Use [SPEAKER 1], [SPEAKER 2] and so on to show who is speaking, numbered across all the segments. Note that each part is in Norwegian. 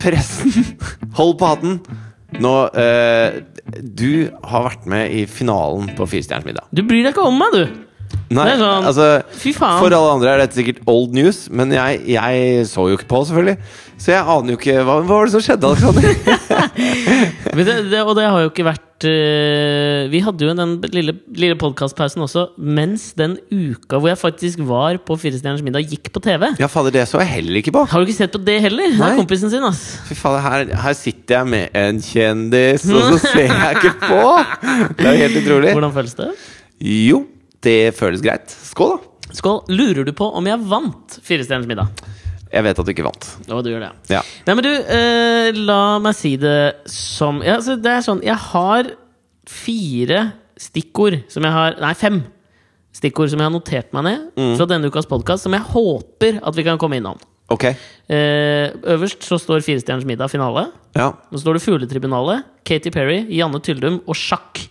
[SPEAKER 1] Pressen! Hold på hatten! Nå eh, Du har vært med i finalen på Firestjerners middag.
[SPEAKER 2] Du bryr deg ikke om meg, du!
[SPEAKER 1] Nei,
[SPEAKER 2] Det er sånn-
[SPEAKER 1] altså
[SPEAKER 2] Fy faen.
[SPEAKER 1] For alle andre er dette sikkert old news, men jeg, jeg så jo ikke på, selvfølgelig. Så jeg aner jo ikke Hva, hva var det som skjedde, Alexander?
[SPEAKER 2] Men det, det, og det har jo ikke vært eh, Vi hadde jo den lille, lille podkastpausen også mens den uka hvor jeg faktisk var på Firestjerners middag, gikk på TV.
[SPEAKER 1] ja, fader, det så jeg heller ikke på.
[SPEAKER 2] Har du ikke sett på det heller? Det
[SPEAKER 1] Nei.
[SPEAKER 2] er kompisen sin, ass.
[SPEAKER 1] Fy fader, her, her sitter jeg med en kjendis, og så ser jeg ikke på! Det er jo helt utrolig.
[SPEAKER 2] Hvordan føles det?
[SPEAKER 1] Jo, det føles greit. Skål, da.
[SPEAKER 2] Skål. Lurer du på om jeg vant Firestjerners middag?
[SPEAKER 1] Jeg vet at du ikke vant.
[SPEAKER 2] Å, du gjør det, ja.
[SPEAKER 1] Ja.
[SPEAKER 2] Nei, men du, eh, la meg si det som ja, altså, Det er sånn, jeg har fire stikkord som jeg har Nei, fem stikkord som jeg har notert meg ned fra denne ukas podkast, som jeg håper at vi kan komme innom.
[SPEAKER 1] Ok.
[SPEAKER 2] Eh, øverst så står Firestjerners middag finale.
[SPEAKER 1] Ja.
[SPEAKER 2] Nå står det Fugletribunalet, Katy Perry, Janne Tyldum og sjakk.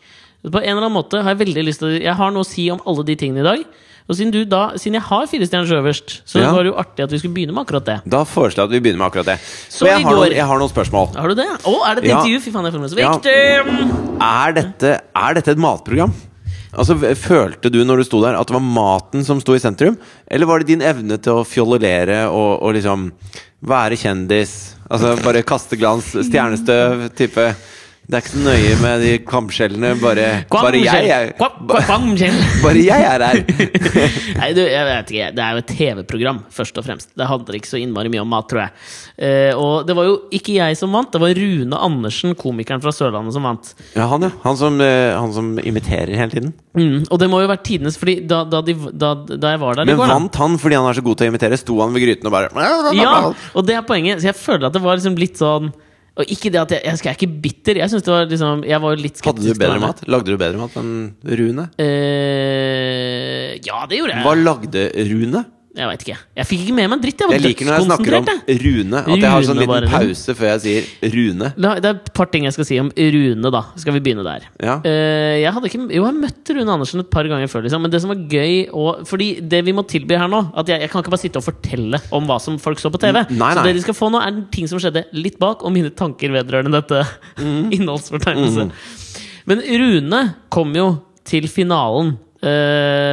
[SPEAKER 2] På en eller annen måte har Jeg veldig lyst til å- Jeg har noe å si om alle de tingene i dag. Og siden, du da, siden jeg har firestjerners øverst, så
[SPEAKER 1] Ja.
[SPEAKER 2] var det jo artig at vi skulle begynne med akkurat det.
[SPEAKER 1] Da foreslår jeg at vi begynner med akkurat det.
[SPEAKER 2] Så
[SPEAKER 1] Men
[SPEAKER 2] i
[SPEAKER 1] jeg har,
[SPEAKER 2] går-
[SPEAKER 1] noen, jeg har noen spørsmål.
[SPEAKER 2] Har du det? Å, er det et
[SPEAKER 1] Ja.
[SPEAKER 2] intervju? Fy faen, jeg føler meg så
[SPEAKER 1] Ja.
[SPEAKER 2] viktig!
[SPEAKER 1] Er dette, er dette et matprogram? Altså, v- Følte du når du sto der at det var maten som sto i sentrum? Eller var det din evne til å fjollere og, og liksom være kjendis? Altså bare kaste glans, stjernestøv, type Det er ikke så nøye med de kamskjellene, bare, bare jeg er
[SPEAKER 2] Kvamskjell.
[SPEAKER 1] ba-
[SPEAKER 2] Kvam- kvamskjell.
[SPEAKER 1] Bare jeg er her!
[SPEAKER 2] Nei, du, jeg vet ikke. Det er jo et TV-program, først og fremst. Det handler ikke så innmari mye om mat, tror jeg. Eh, og det var jo ikke jeg som vant, det var Rune Andersen, komikeren fra Sørlandet, som vant.
[SPEAKER 1] Ja, han, ja. Han som, eh, han som imiterer hele tiden.
[SPEAKER 2] Mm, og det må jo være tidenes, Fordi da, da, de, da, da jeg var der i
[SPEAKER 1] Men
[SPEAKER 2] går, da
[SPEAKER 1] vant han fordi han er så god til å imitere? Sto han ved gryten og bare
[SPEAKER 2] Ja, og det er poenget. Så jeg føler at det var liksom litt sånn Og ikke det at jeg, jeg skal- jeg er ikke bitter. Jeg synes det var liksom Jeg var jo litt skeptisk.
[SPEAKER 1] Hadde du
[SPEAKER 2] til
[SPEAKER 1] bedre
[SPEAKER 2] henne.
[SPEAKER 1] mat? Lagde du bedre mat enn Rune?
[SPEAKER 2] Eh, ja, det gjorde jeg.
[SPEAKER 1] Hva lagde Rune?
[SPEAKER 2] Jeg veit ikke. Jeg fikk ikke med meg en dritt. Jeg var
[SPEAKER 1] Jeg liker når jeg snakker om
[SPEAKER 2] dødskonsentrert, jeg.
[SPEAKER 1] Rune, at jeg har sånn
[SPEAKER 2] Rune bare,
[SPEAKER 1] liten
[SPEAKER 2] liksom.
[SPEAKER 1] pause før jeg sier Rune.
[SPEAKER 2] La, det er et par ting jeg skal si om Rune, da. Skal vi begynne der?
[SPEAKER 1] Ja.
[SPEAKER 2] Eh, jeg hadde ikke, jo, jeg møtte Rune Andersen et par ganger før, liksom. Men det som var gøy og, Fordi det vi må tilby her nå At jeg, jeg kan ikke bare sitte og fortelle om hva som folk så på TV.
[SPEAKER 1] nei, nei.
[SPEAKER 2] Så det de skal få nå, er ting som skjedde litt bak, og mine tanker vedrørende dette.
[SPEAKER 1] Mm.
[SPEAKER 2] Innholdsfortegnelse. Men Rune kom jo til finalen.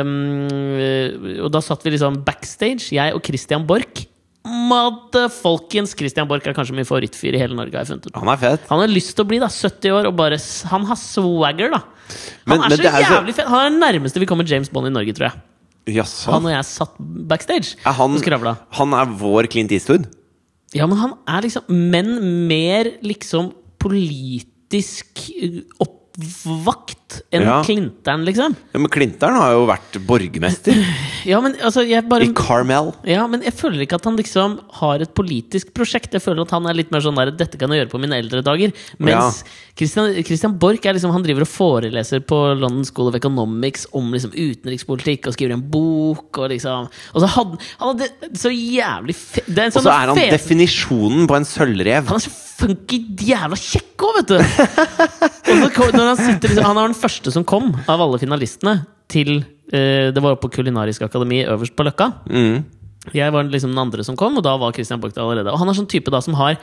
[SPEAKER 2] Eh, og da satt vi liksom backstage, jeg og Christian Borch. Motherfolkens! Christian Borch er kanskje min favorittfyr i hele Norge. har jeg funnet ut
[SPEAKER 1] Han er fet.
[SPEAKER 2] han har lyst til å bli da, 70 år og bare s- Han har swagger, da. Han
[SPEAKER 1] Men-
[SPEAKER 2] er
[SPEAKER 1] men
[SPEAKER 2] så
[SPEAKER 1] det er jo så-
[SPEAKER 2] jævlig fet. Han er den nærmeste vi kommer James Bond i Norge, tror jeg.
[SPEAKER 1] Jaså.
[SPEAKER 2] Han og jeg satt backstage
[SPEAKER 1] Er han,
[SPEAKER 2] og skravla.
[SPEAKER 1] han er vår Clint Eastwood?
[SPEAKER 2] Ja, men han er liksom Men mer liksom politisk eh, oppvakt enn
[SPEAKER 1] Ja.
[SPEAKER 2] Clinton, liksom.
[SPEAKER 1] Ja, men Clinter'n har jo vært borgermester
[SPEAKER 2] Ja, men altså, jeg bare
[SPEAKER 1] i Carmel.
[SPEAKER 2] Ja, men jeg føler ikke at han liksom har et politisk prosjekt. Jeg føler at han er litt mer sånn der Dette kan jeg gjøre på mine eldre dager. Mens Christian, Christian Borch er liksom, han driver og foreleser på London School of Economics om liksom utenrikspolitikk og skriver en bok og liksom Og så hadde han hadde så jævlig fe, det er en
[SPEAKER 1] Og
[SPEAKER 2] sånn
[SPEAKER 1] så er han
[SPEAKER 2] fe-
[SPEAKER 1] definisjonen på en sølvrev.
[SPEAKER 2] han er så funky jævla kjekk òg, vet du! Og så kom, når han, sitter, liksom, han er den første som kom av alle finalistene til eh, Det var på Kulinarisk akademi øverst på Løkka. Jeg var liksom den andre som kom, og da var Christian Borch der allerede. Og han er sånn type da som har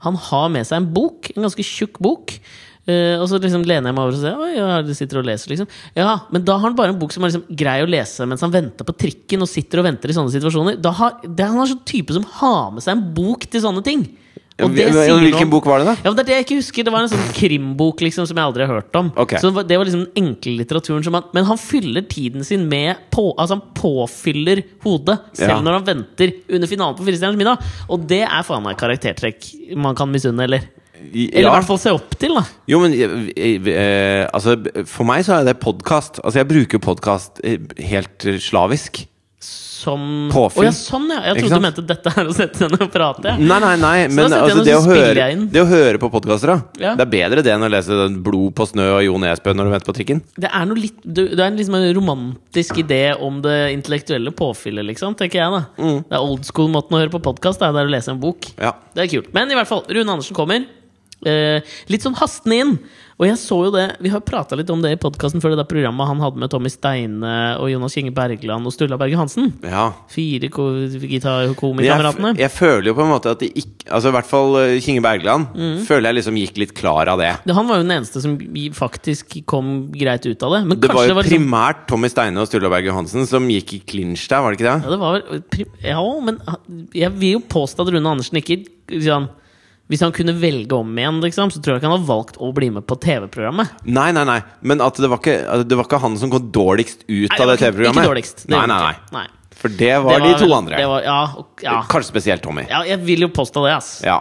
[SPEAKER 2] Han har med seg en bok, en ganske tjukk bok. Eh, og så liksom lener jeg meg over og ser Oi, ja, du sitter og leser liksom Ja, Men da har han bare en bok som er liksom grei å lese mens han venter på trikken. Og sitter og venter i sånne situasjoner da har, det, Han er sånn type som har med seg en bok til sånne ting. Og det
[SPEAKER 1] Ja,
[SPEAKER 2] sier noe
[SPEAKER 1] Hvilken
[SPEAKER 2] om-
[SPEAKER 1] bok var det, da?
[SPEAKER 2] ja, men det er det jeg ikke husker. Det var en sånn krimbok liksom, som jeg aldri har hørt om.
[SPEAKER 1] Ok.
[SPEAKER 2] Så det var- det var liksom den enkle litteraturen som han, Men han fyller tiden sin med på, Altså han påfyller hodet selv
[SPEAKER 1] Ja.
[SPEAKER 2] når han venter under finalen på Firestjerners middag. Og det er faen meg karaktertrekk man kan misunne, eller? Eller i
[SPEAKER 1] Ja.
[SPEAKER 2] hvert fall se opp til, da.
[SPEAKER 1] Jo, men eh, eh, altså, for meg så er det podkast. Altså, jeg bruker podkast helt eh, slavisk.
[SPEAKER 2] Som
[SPEAKER 1] Påfyll.
[SPEAKER 2] Å, ja, sånn, ja. Jeg
[SPEAKER 1] Ikke
[SPEAKER 2] trodde du
[SPEAKER 1] sant?
[SPEAKER 2] mente dette her å sette seg ned og prate. jeg.
[SPEAKER 1] Nei, nei, nei,
[SPEAKER 2] Så
[SPEAKER 1] men
[SPEAKER 2] da setter jeg
[SPEAKER 1] altså,
[SPEAKER 2] den,
[SPEAKER 1] det, å
[SPEAKER 2] og så spiller
[SPEAKER 1] høre,
[SPEAKER 2] jeg inn.
[SPEAKER 1] det å høre på podkaster, da.
[SPEAKER 2] Ja.
[SPEAKER 1] Det er bedre det enn å lese den Blod på snø og Jo Nesbø når du venter på trikken.
[SPEAKER 2] Det er noe litt du- Det er liksom en romantisk idé om det intellektuelle påfyllet, liksom, tenker jeg. da
[SPEAKER 1] Mm.
[SPEAKER 2] Det er old school-måten å høre på podkast, det er å lese en bok.
[SPEAKER 1] Ja.
[SPEAKER 2] Det er kult. Men i hvert fall, Rune Andersen kommer. Eh, litt sånn hastende inn. Og jeg så jo det, Vi har prata litt om det i podkasten før det der programmet han hadde med Tommy Steine og Jonas Kinge Bergland og Sturla Berge Hansen.
[SPEAKER 1] Ja.
[SPEAKER 2] Fire ko-
[SPEAKER 1] Men Jeg, f-
[SPEAKER 2] gitarkomikameratene.
[SPEAKER 1] jeg føler jo på en måte at de ikke Altså i hvert fall eh, Kinge Bergland
[SPEAKER 2] Mm.
[SPEAKER 1] føler jeg liksom gikk litt klar av det.
[SPEAKER 2] Det- Han var jo den eneste som gi- faktisk kom greit ut av det. Men
[SPEAKER 1] Det
[SPEAKER 2] kanskje
[SPEAKER 1] var jo
[SPEAKER 2] det var liksom,
[SPEAKER 1] primært Tommy Steine og Sturla Berg Johansen som gikk i clinch der, var det ikke
[SPEAKER 2] ja,
[SPEAKER 1] det?
[SPEAKER 2] det var vel prim, ja, men han- jeg vil jo påstå at Rune Andersen ikke liksom, Hvis han kunne velge om igjen, liksom, så tror jeg ikke han hadde valgt å bli med på TV-programmet.
[SPEAKER 1] Nei, nei, nei. Men at det var ikke, at det var ikke han som kom dårligst ut
[SPEAKER 2] Nei,
[SPEAKER 1] av det
[SPEAKER 2] det var ikke-
[SPEAKER 1] TV-programmet.
[SPEAKER 2] Ikke dårligst. Det
[SPEAKER 1] Nei,
[SPEAKER 2] gjorde
[SPEAKER 1] nei,
[SPEAKER 2] han
[SPEAKER 1] nei.
[SPEAKER 2] ikke. Nei.
[SPEAKER 1] For det var, de to
[SPEAKER 2] vel-
[SPEAKER 1] andre.
[SPEAKER 2] Det var, ja, og, ja.
[SPEAKER 1] Kanskje spesielt Tommy.
[SPEAKER 2] Ja, jeg vil jo påstå det, ass.
[SPEAKER 1] Ja.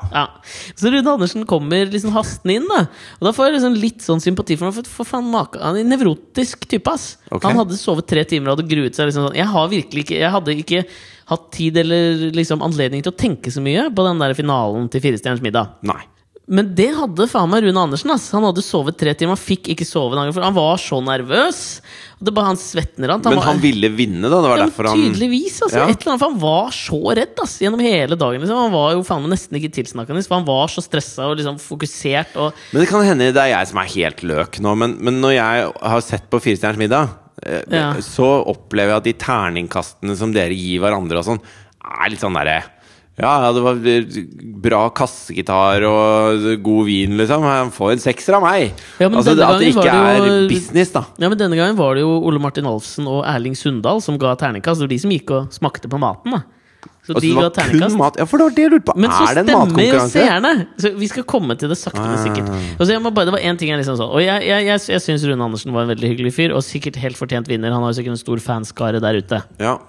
[SPEAKER 2] Så Rune Andersen kommer liksom hastende inn, da. Og da får jeg liksom litt sånn sympati for ham. For, for faen, maka, han er en nevrotisk type, ass.
[SPEAKER 1] Ok.
[SPEAKER 2] Han hadde sovet tre timer og hadde gruet seg. Liksom, sånn. Jeg har virkelig ikke Jeg hadde ikke hatt tid eller liksom anledning til å tenke så mye på den der finalen til Firestjerners middag.
[SPEAKER 1] Nei.
[SPEAKER 2] Men det hadde faen meg Rune Andersen. ass Han hadde sovet tre timer, han fikk ikke sove en gang, for han var så nervøs. Og det bare, han svetnerant.
[SPEAKER 1] Men
[SPEAKER 2] var-
[SPEAKER 1] han ville vinne, da. Det var
[SPEAKER 2] ja, men
[SPEAKER 1] derfor han
[SPEAKER 2] Tydeligvis, altså.
[SPEAKER 1] Ja.
[SPEAKER 2] Et eller annet, for han var så redd ass, gjennom hele dagen. Liksom. Han var jo faen meg nesten ikke tilsnakkende, for han var så stressa og liksom fokusert. Og,
[SPEAKER 1] Men det kan hende det er jeg som er helt løk nå, men, men når jeg har sett på Firestjerners middag, eh,
[SPEAKER 2] Ja.
[SPEAKER 1] så opplever jeg at de terningkastene som dere gir hverandre og sånn, er litt sånn derre ja, ja, det var eh, bra kassegitar og god vin, liksom. Han får en sekser av meg!
[SPEAKER 2] Ja, men
[SPEAKER 1] altså,
[SPEAKER 2] denne
[SPEAKER 1] At det
[SPEAKER 2] gangen
[SPEAKER 1] ikke
[SPEAKER 2] var det
[SPEAKER 1] er
[SPEAKER 2] jo-
[SPEAKER 1] business, da.
[SPEAKER 2] ja, men denne gangen var det jo Ole Martin Alfsen og Erling Sundal som ga terningkast. Det var de som gikk og smakte på maten. Da. Så
[SPEAKER 1] Altså,
[SPEAKER 2] de
[SPEAKER 1] det
[SPEAKER 2] ga
[SPEAKER 1] var kun
[SPEAKER 2] terningkast.
[SPEAKER 1] mat. Ja, for det var det jeg lurte på.
[SPEAKER 2] Men så
[SPEAKER 1] er det en
[SPEAKER 2] stemmer jo
[SPEAKER 1] matkonkurranse? Ah.
[SPEAKER 2] seerne! Så vi skal komme til det sakte, men sikkert. Og så jeg må bare, det var en ting jeg liksom sånn Og jeg, jeg, jeg, jeg syns Rune Andersen var en veldig hyggelig fyr, og sikkert helt fortjent vinner. Han har jo sikkert en stor fanskare der ute.
[SPEAKER 1] Ja.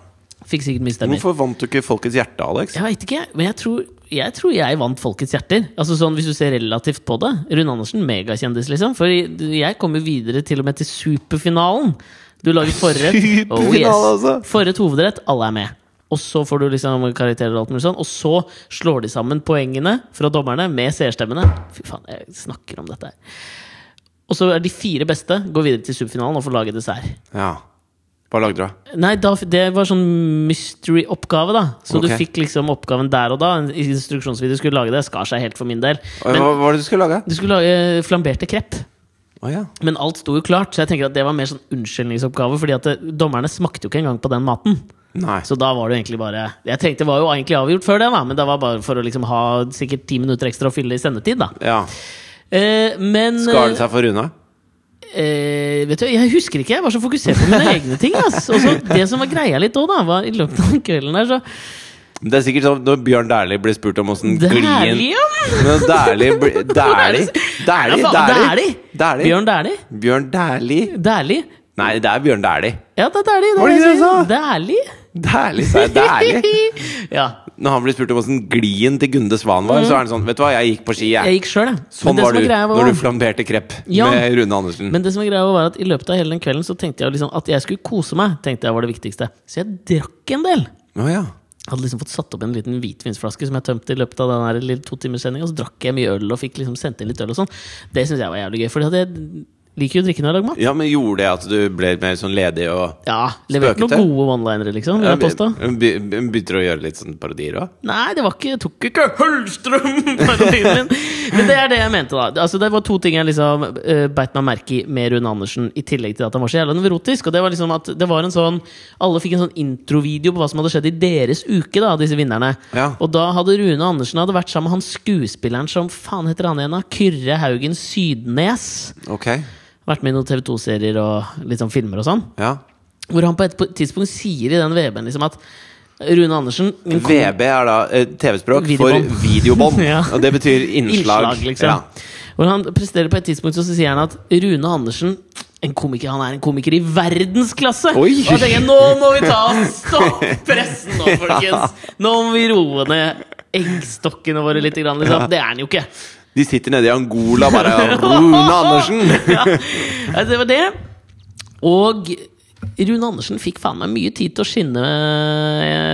[SPEAKER 2] Fikk sikkert mye stemmer.
[SPEAKER 1] Hvorfor vant du ikke Folkets hjerte, Alex?
[SPEAKER 2] Jeg vet ikke, men jeg tror jeg, tror jeg vant folkets hjerter. Altså sånn Hvis du ser relativt på det. Rune Andersen, megakjendis, liksom. For jeg kom jo videre til og med til superfinalen. Du lager forrett. Oh,
[SPEAKER 1] Superfinale, altså.
[SPEAKER 2] Forrett, hovedrett, alle er med. Og så får du liksom karakterer og alt mulig sånn. Og så slår de sammen poengene fra dommerne med seerstemmene. Fy faen, jeg snakker om dette her. Og så er de fire beste går videre til superfinalen og får lage dessert.
[SPEAKER 1] Ja. Hva lagde du, da?
[SPEAKER 2] Nei, da, det var sånn mystery-oppgave, da. Så
[SPEAKER 1] Ok.
[SPEAKER 2] du fikk liksom oppgaven der og da. En instruksjonsvideo skulle lage det. Skar seg helt for min del.
[SPEAKER 1] Hva
[SPEAKER 2] Men
[SPEAKER 1] hva var det du skulle lage?
[SPEAKER 2] du skulle lage eh, flamberte krepp.
[SPEAKER 1] Å ja.
[SPEAKER 2] Men alt sto jo klart, så jeg tenker at det var mer sånn unnskyldningsoppgave. Fordi at det, dommerne smakte jo ikke engang på den maten.
[SPEAKER 1] Nei.
[SPEAKER 2] Så da var det jo egentlig bare Jeg tenkte det var jo egentlig avgjort før det, da. Men det var bare for å liksom ha sikkert ti minutter ekstra å fylle i sendetid, da.
[SPEAKER 1] Ja.
[SPEAKER 2] Eh, men
[SPEAKER 1] Skar det seg for Runa?
[SPEAKER 2] Eh, vet du, Jeg husker ikke, jeg var så fokusert på mine egne ting. Ass. Og så det som var greia litt òg, da, var i løpet av den kvelden her, så
[SPEAKER 1] Det er sikkert sånn når Bjørn Dæhlie blir spurt om åssen glien
[SPEAKER 2] Dæhlie?
[SPEAKER 1] Når Dæhlie blir- Dæhlie? Dæhlie?
[SPEAKER 2] Ja, faen,
[SPEAKER 1] Dæhlie?
[SPEAKER 2] Dæhlie? Bjørn Dæhlie?
[SPEAKER 1] Bjørn Dæhlie?
[SPEAKER 2] Dæhlie?
[SPEAKER 1] Nei, det er Bjørn Dæhlie.
[SPEAKER 2] Ja, det er Dæhlie.
[SPEAKER 1] Var det
[SPEAKER 2] det
[SPEAKER 1] ikke det
[SPEAKER 2] jeg
[SPEAKER 1] jeg sa?
[SPEAKER 2] sier. Dæhlie?
[SPEAKER 1] Dæhlie, sa jeg. Dæhlie.
[SPEAKER 2] ja.
[SPEAKER 1] Når han blir spurt om åssen glien til Gunde Svan var, så er han sånn Vet du hva, jeg gikk på ski,
[SPEAKER 2] Jeg
[SPEAKER 1] jeg.
[SPEAKER 2] gikk sjøl, jeg. Men
[SPEAKER 1] Sånn
[SPEAKER 2] det
[SPEAKER 1] var
[SPEAKER 2] som
[SPEAKER 1] du
[SPEAKER 2] greia
[SPEAKER 1] når du flamberte krepp
[SPEAKER 2] Ja.
[SPEAKER 1] med Rune Andersen.
[SPEAKER 2] Men det som var greia var at i løpet av hele den kvelden så tenkte jeg liksom at jeg skulle kose meg. Tenkte jeg var det viktigste Så jeg drakk en del.
[SPEAKER 1] Å ja.
[SPEAKER 2] Jeg hadde liksom fått satt opp en liten hvitvinsflaske som jeg tømte i løpet av den her lille to timers sending, og så drakk jeg mye øl og fikk liksom sendt inn litt øl og sånn. Det syns jeg var jævlig gøy, for jeg liker jo å drikke når jeg lager mat.
[SPEAKER 1] ja, men gjorde det at du ble mer sånn ledig og
[SPEAKER 2] Ja, Leverte noen
[SPEAKER 1] Spøkete.
[SPEAKER 2] gode one-linere, liksom, vil jeg påstå.
[SPEAKER 1] Be- Begynte du å gjøre litt sånn parodier òg?
[SPEAKER 2] Nei, det var ikke, jeg tok ikke Høllstrøm-parodien min! Men det er det jeg mente, da. Altså, det var to ting jeg liksom eh, beit meg merke i med Rune Andersen, i tillegg til at han var så jævla nevrotisk. Og det var liksom at det var en sånn Alle fikk en sånn introvideo på hva som hadde skjedd i deres uke, da, disse vinnerne.
[SPEAKER 1] Ja.
[SPEAKER 2] Og da hadde Rune Andersen hadde vært sammen med han skuespilleren som faen heter han igjen, da? Kyrre Haugen Sydnes.
[SPEAKER 1] Ok.
[SPEAKER 2] Vært med i noen TV2-serier og litt sånn filmer og sånn.
[SPEAKER 1] Ja.
[SPEAKER 2] Hvor han på et tidspunkt sier i den VB-en liksom at Rune Andersen min kom-
[SPEAKER 1] VB er da eh, TV-språk for
[SPEAKER 2] Videobånd.
[SPEAKER 1] videobånd.
[SPEAKER 2] Ja.
[SPEAKER 1] Og det betyr innslag.
[SPEAKER 2] liksom.
[SPEAKER 1] Ja.
[SPEAKER 2] Hvor han presterer på et tidspunkt så sier han at Rune Andersen en komiker, Han er en komiker i verdensklasse!
[SPEAKER 1] Oi!
[SPEAKER 2] Og da tenker jeg, Nå må vi ta stopp pressen nå, folkens! Nå må vi roe ned eggstokkene våre litt. Grann, liksom. Det er han jo ikke!
[SPEAKER 1] De sitter nede i Angola bare Rune Andersen!
[SPEAKER 2] Ja. Nei, Det var det. Og Rune Andersen fikk faen meg mye tid til å skinne,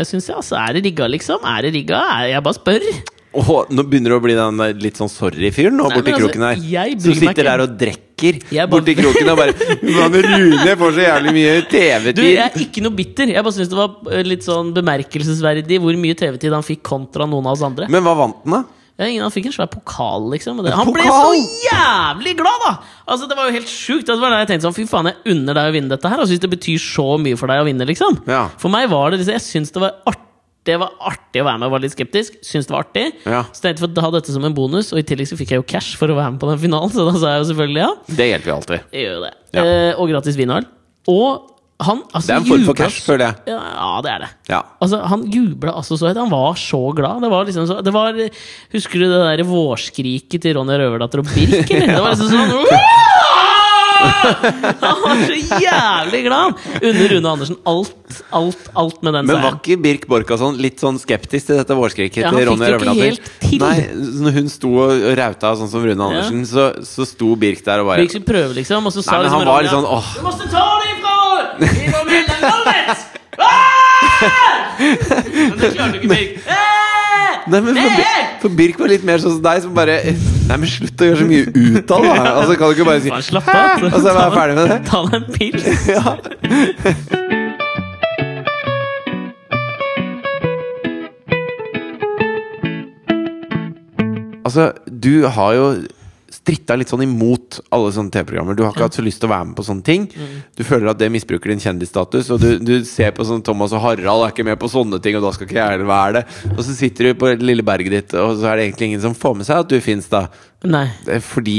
[SPEAKER 2] syns jeg. Altså, er det rigga, liksom? Er det rigga? Er- Jeg bare spør.
[SPEAKER 1] Åh, nå begynner du å bli den der litt sånn sorry-fyren nå
[SPEAKER 2] Nei,
[SPEAKER 1] borti
[SPEAKER 2] men altså,
[SPEAKER 1] kroken her.
[SPEAKER 2] jeg
[SPEAKER 1] Som
[SPEAKER 2] bryr meg
[SPEAKER 1] sitter
[SPEAKER 2] ikke.
[SPEAKER 1] der og drikker
[SPEAKER 2] Jeg bare-
[SPEAKER 1] borti kroken og bare Hvordan Rune får så jævlig mye
[SPEAKER 2] Du, jeg
[SPEAKER 1] TV-tid!
[SPEAKER 2] er ikke noe bitter. Jeg bare syns det var eh, litt sånn bemerkelsesverdig hvor mye TV-tid han fikk kontra noen av oss andre.
[SPEAKER 1] Men hva vant den, da?
[SPEAKER 2] Ja, ingen, han fikk en svær pokal, liksom. Og det, han ble så
[SPEAKER 1] Pokal?
[SPEAKER 2] jævlig glad, da! Altså, Det var jo helt sjukt. Det var da jeg tenkte sånn, fy faen, jeg unner deg å vinne dette her. Og syns det betyr så mye for deg å vinne, liksom.
[SPEAKER 1] Ja.
[SPEAKER 2] For meg var det liksom, jeg syns det var artig. Det var artig å være med, var litt skeptisk. Syns det var artig.
[SPEAKER 1] Ja.
[SPEAKER 2] Så tenkte jeg for å ha dette som en bonus, og i tillegg så fikk jeg jo cash for å være med på den finalen. Så da sa jeg jo selvfølgelig ja.
[SPEAKER 1] Det hjelper jo alltid.
[SPEAKER 2] Jeg gjør jo det.
[SPEAKER 1] Ja.
[SPEAKER 2] Eh, og gratis vinhall. Og han altså,
[SPEAKER 1] Det er en form for
[SPEAKER 2] jublet-
[SPEAKER 1] cash, føler jeg.
[SPEAKER 2] Ja, ja, det er det.
[SPEAKER 1] Ja.
[SPEAKER 2] Altså, han jubla altså så høyt. Han var så glad. Det var liksom så, det var, husker du det der vårskriket til Ronja Røverdatter og Birk? Eller? Det var liksom sånn «Åh!» Han var så jævlig glad! Under Rune Andersen. Alt, alt, alt med den
[SPEAKER 1] Men var
[SPEAKER 2] seieren.
[SPEAKER 1] ikke Birk Borkasson litt sånn skeptisk til dette vårskriket
[SPEAKER 2] Ja, han
[SPEAKER 1] til
[SPEAKER 2] fikk
[SPEAKER 1] Ronja
[SPEAKER 2] det jo ikke
[SPEAKER 1] Røverdatter?
[SPEAKER 2] helt til.
[SPEAKER 1] Nei, så når hun sto og rauta sånn som Rune Andersen, så, så sto Birk der og bare
[SPEAKER 2] Birk skulle prøve, liksom, og så sa
[SPEAKER 1] Nei, men
[SPEAKER 2] liksom
[SPEAKER 1] han var litt
[SPEAKER 2] Ronja,
[SPEAKER 1] sånn åh.
[SPEAKER 2] Du måtte ta det ifra henne! Vi må melde landet! Ah! Men det klarte ikke Birk. Ah!
[SPEAKER 1] Nei, men for,
[SPEAKER 2] Det
[SPEAKER 1] Bir
[SPEAKER 2] er-
[SPEAKER 1] for Birk var litt mer sånn som deg, som bare Nei, men slutt å gjøre så mye ut av det! da. Altså, kan du ikke bare si
[SPEAKER 2] Bare slapp av.
[SPEAKER 1] Og så er jeg ferdig med det.
[SPEAKER 2] Ta deg en pils.
[SPEAKER 1] Ja. altså, du har jo stritta litt sånn imot alle sånne TV-programmer. Du har ikke hatt så lyst til å være med på sånne ting. Du føler at det misbruker din kjendisstatus, og du, du ser på sånn Thomas og Harald er ikke med på sånne ting, og da skal ikke jeg heller være det. Og så sitter du på det lille berget ditt, og så er det egentlig ingen som får med seg at du fins, da.
[SPEAKER 2] Nei.
[SPEAKER 1] Det er fordi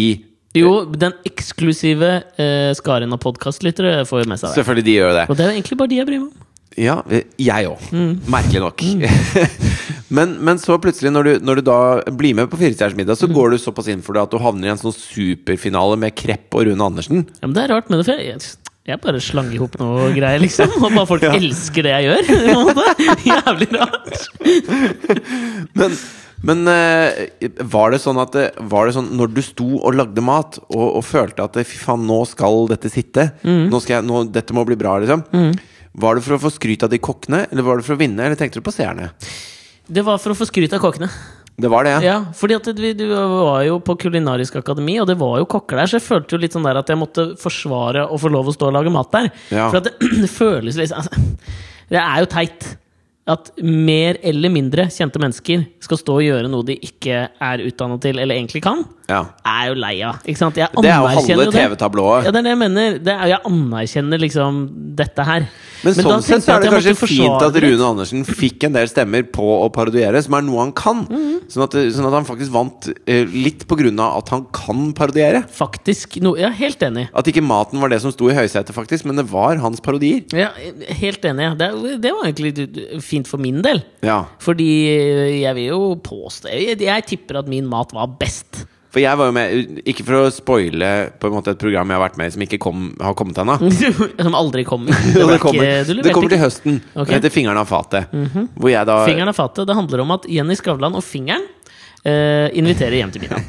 [SPEAKER 2] Jo, den eksklusive eh, skaren av podkastlyttere får jo med seg det.
[SPEAKER 1] Selvfølgelig de gjør det.
[SPEAKER 2] Og det er jo egentlig bare de jeg bryr meg om.
[SPEAKER 1] Ja, jeg òg. Merkelig nok. men, men så plutselig, når du, når du da blir med på Firestjerners middag, så går du såpass inn for det at du havner i en sånn superfinale med Krepp og Rune Andersen.
[SPEAKER 2] Ja, men det er rart med det, for jeg, jeg bare slang i hop noe greier, liksom. Og bare folk elsker det jeg gjør. På en måte. Jævlig rart.
[SPEAKER 1] Men, men eh, var det sånn at det, Var det sånn når du sto og lagde mat og, og følte at eh, fy faen, nå skal dette sitte,
[SPEAKER 2] Mm.
[SPEAKER 1] nå skal jeg, nå, dette må bli bra, liksom. Var det for å få skryt av de kokkene, eller var det for å vinne, eller tenkte du på seerne?
[SPEAKER 2] Det var for å få skryt av kokkene.
[SPEAKER 1] Det var det, ja.
[SPEAKER 2] Ja, fordi at vi, Du var jo på Kulinarisk akademi, og det var jo kokker der, så jeg følte jo litt sånn der at jeg måtte forsvare å få lov å stå og lage mat der.
[SPEAKER 1] Ja.
[SPEAKER 2] For at det, det føles liksom altså, Det er jo teit at mer eller mindre kjente mennesker skal stå og gjøre noe de ikke er utdannet til eller egentlig kan.
[SPEAKER 1] ja.
[SPEAKER 2] er jo lei av. Ikke sant? Jeg
[SPEAKER 1] Det er jo halve
[SPEAKER 2] anerkjenner jo det.
[SPEAKER 1] TV-tablået.
[SPEAKER 2] Ja, det er det jeg mener. Det er, jeg anerkjenner liksom dette her.
[SPEAKER 1] Men,
[SPEAKER 2] da
[SPEAKER 1] sånn sett
[SPEAKER 2] tenkte
[SPEAKER 1] så
[SPEAKER 2] jeg
[SPEAKER 1] er det
[SPEAKER 2] at jeg
[SPEAKER 1] kanskje
[SPEAKER 2] måtte
[SPEAKER 1] fint
[SPEAKER 2] forsvare
[SPEAKER 1] at
[SPEAKER 2] det litt.
[SPEAKER 1] Rune Andersen fikk en del stemmer på å parodiere, som er noe han kan.
[SPEAKER 2] Mm.
[SPEAKER 1] sånn, at, sånn at han faktisk vant eh, litt på grunn av at han kan parodiere.
[SPEAKER 2] Faktisk no, Ja, helt enig.
[SPEAKER 1] At ikke maten var det som sto i høysetet, faktisk, men det var hans parodier.
[SPEAKER 2] Ja, helt enig. Det, er- det var egentlig du- du- fint for min del.
[SPEAKER 1] Ja,
[SPEAKER 2] Fordi eh, jeg vil jo påstå Jeg, jeg tipper at min mat var best.
[SPEAKER 1] For jeg var jo med Ikke for å spoile på en måte et program jeg har vært med i som ikke kom, har kommet ennå.
[SPEAKER 2] Som aldri kommer. Det
[SPEAKER 1] Og
[SPEAKER 2] var
[SPEAKER 1] Det kommer,
[SPEAKER 2] ikke- Mm. du
[SPEAKER 1] det
[SPEAKER 2] leverte
[SPEAKER 1] kommer til
[SPEAKER 2] ikke.
[SPEAKER 1] høsten.
[SPEAKER 2] Ok. Mhm.
[SPEAKER 1] Det heter 'Fingeren av fatet'. Hvor jeg da
[SPEAKER 2] Fingeren av fatet. Det handler om at Jenny Skavlan og Fingeren eh, inviterer hjem til middag.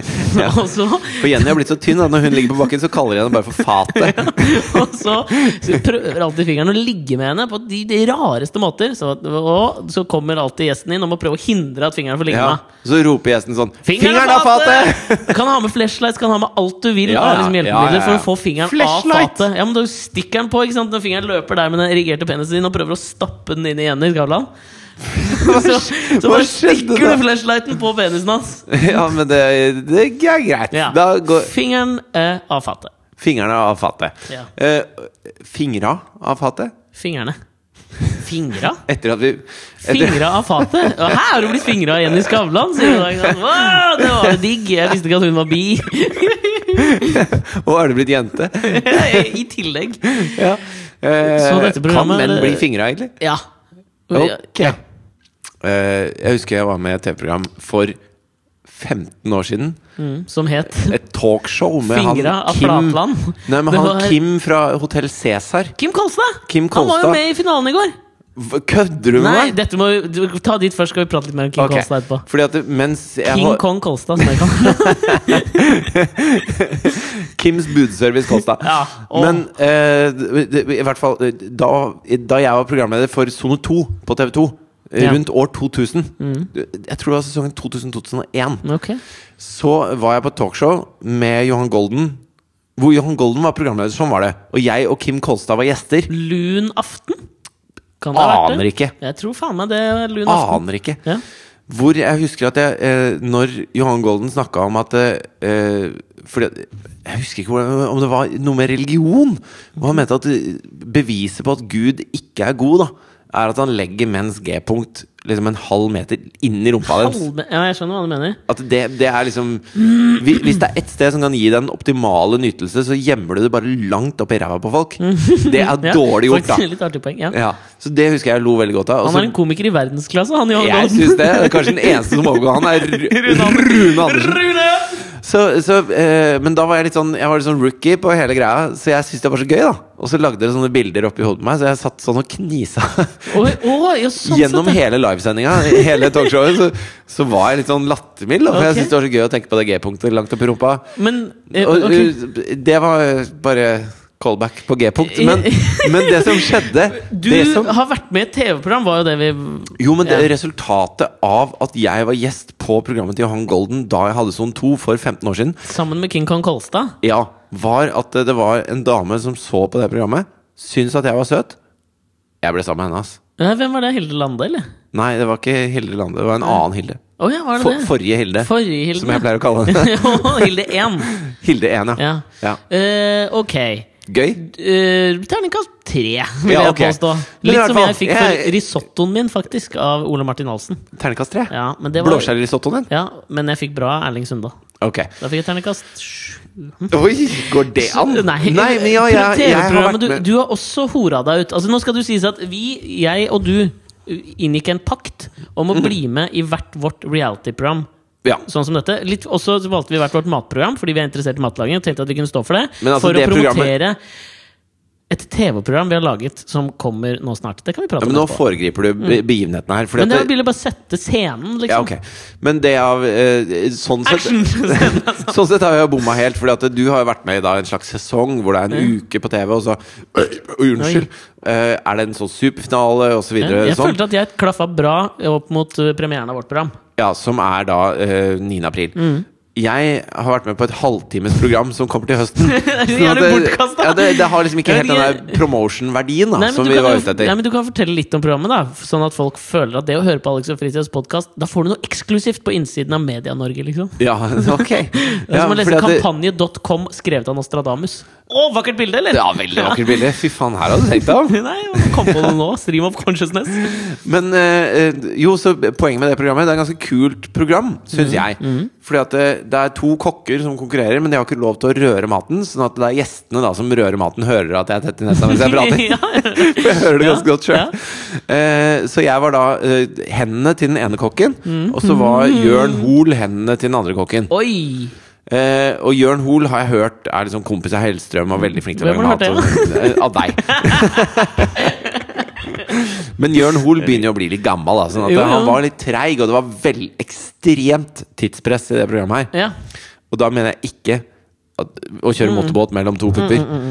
[SPEAKER 2] Og så
[SPEAKER 1] For Jenny har blitt så tynn at når hun ligger på bakken, så kaller jeg henne bare for Fatet.
[SPEAKER 2] og så, så prøver alltid fingeren å ligge med henne på de, de rareste måter. Så, og så kommer alltid gjesten inn og må prøve å hindre at fingeren får ligge
[SPEAKER 1] Ja.
[SPEAKER 2] med.
[SPEAKER 1] Så roper gjesten sånn 'Fingeren av fatet!'
[SPEAKER 2] Du kan ha med flashlights, kan ha med alt du vil
[SPEAKER 1] Ja,
[SPEAKER 2] av liksom
[SPEAKER 1] ja,
[SPEAKER 2] hjelpemidler
[SPEAKER 1] ja, ja.
[SPEAKER 2] for å få fingeren
[SPEAKER 1] Flashlight!
[SPEAKER 2] av fatet. Ja, men da stikker den på ikke sant? når fingeren løper der med den erigerte penisen din og prøver å stappe den inn i Jenny Skavlan. Så, så
[SPEAKER 1] hva
[SPEAKER 2] bare
[SPEAKER 1] skjedde
[SPEAKER 2] stikker
[SPEAKER 1] da?
[SPEAKER 2] du flashlighten på penisen hans.
[SPEAKER 1] Ja, men det, det er greit.
[SPEAKER 2] Ja.
[SPEAKER 1] Da går
[SPEAKER 2] Fingeren er av fatet.
[SPEAKER 1] fingrene av fatet.
[SPEAKER 2] Ja.
[SPEAKER 1] Eh, fingra av fatet?
[SPEAKER 2] Fingrene. Fingra?
[SPEAKER 1] Etter at vi etter,
[SPEAKER 2] Fingra av fatet? Og her har du blitt fingra av Jenny Skavlan! Sier du da, ikke sant? Wow, det var jo digg! Jeg visste ikke at hun var bi!
[SPEAKER 1] Og er det blitt jente?
[SPEAKER 2] I tillegg.
[SPEAKER 1] Ja. Eh,
[SPEAKER 2] Så dette
[SPEAKER 1] kan
[SPEAKER 2] programmet-
[SPEAKER 1] menn bli fingra, egentlig?
[SPEAKER 2] Ja.
[SPEAKER 1] Ok. Eh, jeg husker jeg var med i et TV-program for 15 år siden.
[SPEAKER 2] Mm, Som het
[SPEAKER 1] Et talkshow med
[SPEAKER 2] Fingra
[SPEAKER 1] han
[SPEAKER 2] av
[SPEAKER 1] Kim
[SPEAKER 2] Flatland.
[SPEAKER 1] Nei, men
[SPEAKER 2] Det
[SPEAKER 1] han
[SPEAKER 2] var-
[SPEAKER 1] Kim fra Hotell Cæsar.
[SPEAKER 2] Kim Kolstad!
[SPEAKER 1] Kim
[SPEAKER 2] Han var
[SPEAKER 1] Kolstad.
[SPEAKER 2] jo med i finalen i går!
[SPEAKER 1] Hva- Kødder du med
[SPEAKER 2] Nei,
[SPEAKER 1] meg?
[SPEAKER 2] dette må vi du- Ta dit først, skal vi prate litt mer om Kim
[SPEAKER 1] Ok.
[SPEAKER 2] Kolstad etterpå.
[SPEAKER 1] Fordi at mens jeg
[SPEAKER 2] King
[SPEAKER 1] var-
[SPEAKER 2] Kong Kolstad, som jeg kan.
[SPEAKER 1] Kims budservice Kolstad.
[SPEAKER 2] Ja, og-
[SPEAKER 1] Men eh, det- det- i hvert fall eh, da, da jeg var programleder for Sone 2 på TV 2
[SPEAKER 2] Ja.
[SPEAKER 1] eh,
[SPEAKER 2] Mm.
[SPEAKER 1] Rundt år 2000 Jeg tror det var sesongen 2000-2001
[SPEAKER 2] Ok.
[SPEAKER 1] Så var jeg på et talkshow med Johan Golden Hvor Johan Golden var programleder, sånn var det Og jeg og Kim Kolstad var gjester
[SPEAKER 2] Lun aften? Kan det ha vært
[SPEAKER 1] Aner
[SPEAKER 2] det?
[SPEAKER 1] ikke
[SPEAKER 2] Jeg tror faen meg det er lun aften.
[SPEAKER 1] Aner ikke
[SPEAKER 2] Ja.
[SPEAKER 1] Hvor jeg husker at jeg eh, Når Johan Golden snakka om at eh, fordi, at- Jeg husker ikke hvordan- om det var noe med religion. Og han mente at eh, beviset på at Gud ikke er god, da er at han legger menns G-punkt liksom en halv meter inn i rumpa deres.
[SPEAKER 2] Halve- Ja, jeg skjønner hva du mener.
[SPEAKER 1] At det, det er liksom hvi- Hvis det er ett sted som kan gi deg den optimale nytelse, så gjemmer du det bare langt opp i ræva på folk. Det er
[SPEAKER 2] Ja,
[SPEAKER 1] dårlig gjort,
[SPEAKER 2] faktisk
[SPEAKER 1] da.
[SPEAKER 2] Litt artig poeng, ja.
[SPEAKER 1] Ja, så det husker jeg jeg lo veldig godt av. Og
[SPEAKER 2] Han
[SPEAKER 1] så-
[SPEAKER 2] er en komiker i verdensklasse, han Johan
[SPEAKER 1] jeg
[SPEAKER 2] Golden.
[SPEAKER 1] syns det. det er Kanskje den eneste som overgår han, er Ru- Rune Andersen.
[SPEAKER 2] Rune!
[SPEAKER 1] Så, så, eh, men da var jeg litt sånn Jeg var litt sånn rookie på hele greia, så jeg syntes det var så gøy. da Og så lagde dere sånne bilder oppi hodet på meg, så jeg satt sånn og knisa.
[SPEAKER 2] Oi, å, ja, sånn
[SPEAKER 1] Gjennom
[SPEAKER 2] sett, ja.
[SPEAKER 1] hele livesendinga, hele talkshowet, så, så var jeg litt sånn lattermild. da, For jeg
[SPEAKER 2] Ok.
[SPEAKER 1] syntes det var så gøy å tenke på det G-punktet langt oppi rumpa.
[SPEAKER 2] Men eh,
[SPEAKER 1] Og,
[SPEAKER 2] ok.
[SPEAKER 1] eh, Det var bare callback på G-punkt. Men, men det som skjedde
[SPEAKER 2] Du
[SPEAKER 1] det som,
[SPEAKER 2] har vært med i et TV-program, var jo det vi
[SPEAKER 1] Jo, men det,
[SPEAKER 2] Ja.
[SPEAKER 1] resultatet av at jeg var gjest på programmet til Johan Golden da jeg hadde sånn to for 15 år siden,
[SPEAKER 2] Sammen med King Kong Kolstad.
[SPEAKER 1] ja, var at det var en dame som så på det programmet, syntes at jeg var søt. Jeg ble sammen med henne, ass.
[SPEAKER 2] Ja, hvem var det? Hilde Lande, eller?
[SPEAKER 1] Nei, det var ikke Hilde Lande, det var en annen Hilde.
[SPEAKER 2] Å ja, var det
[SPEAKER 1] For,
[SPEAKER 2] det?
[SPEAKER 1] forrige Hilde,
[SPEAKER 2] Forrige Hilde.
[SPEAKER 1] som jeg pleier å kalle henne.
[SPEAKER 2] Ja, Hilde 1.
[SPEAKER 1] Hilde 1, ja.
[SPEAKER 2] Ja.
[SPEAKER 1] ja.
[SPEAKER 2] Eh, ok.
[SPEAKER 1] Gøy.
[SPEAKER 2] Eh, terningkast tre, vil
[SPEAKER 1] Ja,
[SPEAKER 2] jeg
[SPEAKER 1] ok.
[SPEAKER 2] påstå.
[SPEAKER 1] Men i
[SPEAKER 2] Litt
[SPEAKER 1] hvert
[SPEAKER 2] som
[SPEAKER 1] fall,
[SPEAKER 2] jeg fikk for
[SPEAKER 1] jeg-
[SPEAKER 2] risottoen min, faktisk, av Ole Martin Halsen.
[SPEAKER 1] Ternekast 3.
[SPEAKER 2] Ja, men det var
[SPEAKER 1] Blåskjellrisottoen din?
[SPEAKER 2] ja, men jeg fikk bra Erling Sunda.
[SPEAKER 1] Ok.
[SPEAKER 2] Da fikk jeg terningkast sju.
[SPEAKER 1] Oi, går det an?
[SPEAKER 2] Nei,
[SPEAKER 1] men ja, jeg, jeg har
[SPEAKER 2] TV-programmet,
[SPEAKER 1] vært med
[SPEAKER 2] du, du har også hora deg ut. Altså, nå skal du sies at vi, jeg og du, inngikk en pakt om
[SPEAKER 1] Mhm.
[SPEAKER 2] å bli med i hvert vårt reality-program.
[SPEAKER 1] Ja.
[SPEAKER 2] Sånn som dette Litt, Og så valgte vi hvert vårt matprogram fordi vi er interessert i matlaging. Og tenkte at vi kunne stå for det
[SPEAKER 1] Men altså,
[SPEAKER 2] For å
[SPEAKER 1] det programmet-
[SPEAKER 2] promotere et TV-program vi har laget, som kommer nå snart. Det kan vi prate
[SPEAKER 1] Ja, men
[SPEAKER 2] om
[SPEAKER 1] nå
[SPEAKER 2] etterpå.
[SPEAKER 1] foregriper du be- begivenhetene her. fordi
[SPEAKER 2] Mm. Men det
[SPEAKER 1] at-
[SPEAKER 2] ville bare sette scenen,
[SPEAKER 1] Ja,
[SPEAKER 2] liksom.
[SPEAKER 1] ok. Men det av eh, Sånn sett
[SPEAKER 2] Action! Scenen, altså.
[SPEAKER 1] Sånn sett har jeg bomma helt, Fordi at du har jo vært med i da, en slags sesong hvor det er en uke på TV, og så Øy, Unnskyld! eh, er det en sånn superfinale, og så videre?
[SPEAKER 2] Jeg
[SPEAKER 1] sånn.
[SPEAKER 2] følte at jeg klaffa bra opp mot eh, premieren av vårt program.
[SPEAKER 1] Ja, som er da eh, 9. april.
[SPEAKER 2] Mm.
[SPEAKER 1] Jeg har vært med på et halvtimes program som kommer til høsten.
[SPEAKER 2] er
[SPEAKER 1] Sånn at
[SPEAKER 2] jævlig
[SPEAKER 1] det-
[SPEAKER 2] bortkastet.
[SPEAKER 1] ja, det, det har liksom ikke
[SPEAKER 2] Jeg
[SPEAKER 1] helt
[SPEAKER 2] vet
[SPEAKER 1] den der
[SPEAKER 2] ikke-
[SPEAKER 1] promotion-verdien da,
[SPEAKER 2] Nei, men,
[SPEAKER 1] som
[SPEAKER 2] du
[SPEAKER 1] vi
[SPEAKER 2] kan,
[SPEAKER 1] var
[SPEAKER 2] jo-
[SPEAKER 1] ute etter.
[SPEAKER 2] nei, men du kan fortelle litt om programmet, da sånn at folk føler at det å høre på Alex og Fritids podkast Da får du noe eksklusivt på innsiden av Media-Norge, liksom.
[SPEAKER 1] Ja, ok.
[SPEAKER 2] Det er
[SPEAKER 1] Ja,
[SPEAKER 2] som å lese
[SPEAKER 1] fordi at det-
[SPEAKER 2] kampanje.com skrevet av Nostradamus. Å, vakkert bilde, eller?
[SPEAKER 1] ja, veldig vakkert bilde. Fy faen, her hadde du tenkt deg om!
[SPEAKER 2] Nei, jeg kom på det nå. Stream of consciousness.
[SPEAKER 1] Men eh, eh, jo, så poenget med det programmet Det er et ganske kult program,
[SPEAKER 2] Mm,
[SPEAKER 1] syns jeg. Fordi at eh, det, det er to kokker som konkurrerer, men de har ikke lov til å røre maten. Sånn at det er gjestene da som rører maten, hører at jeg er tett i nesa mens jeg prater.
[SPEAKER 2] Ja.
[SPEAKER 1] For jeg hører det
[SPEAKER 2] Ja,
[SPEAKER 1] ganske godt sjøl. så jeg var da eh, hendene til den ene kokken,
[SPEAKER 2] Mm.
[SPEAKER 1] og så var Jørn Hoel hendene til den andre kokken.
[SPEAKER 2] Oi!
[SPEAKER 1] Eh, og Jørn Hoel har jeg hørt er liksom kompis av Hellstrøm og veldig flink til å
[SPEAKER 2] Hvem
[SPEAKER 1] lage mat.
[SPEAKER 2] har du
[SPEAKER 1] og- Eh, Av deg. Men Jørn Hoel begynner jo å bli litt gammel. Da, sånn at
[SPEAKER 2] Jo, jo.
[SPEAKER 1] Han var litt treig, og det var vel ekstremt tidspress i det programmet her.
[SPEAKER 2] Ja.
[SPEAKER 1] Og da mener jeg ikke at, å kjøre
[SPEAKER 2] Mm.
[SPEAKER 1] motorbåt mellom to pupper.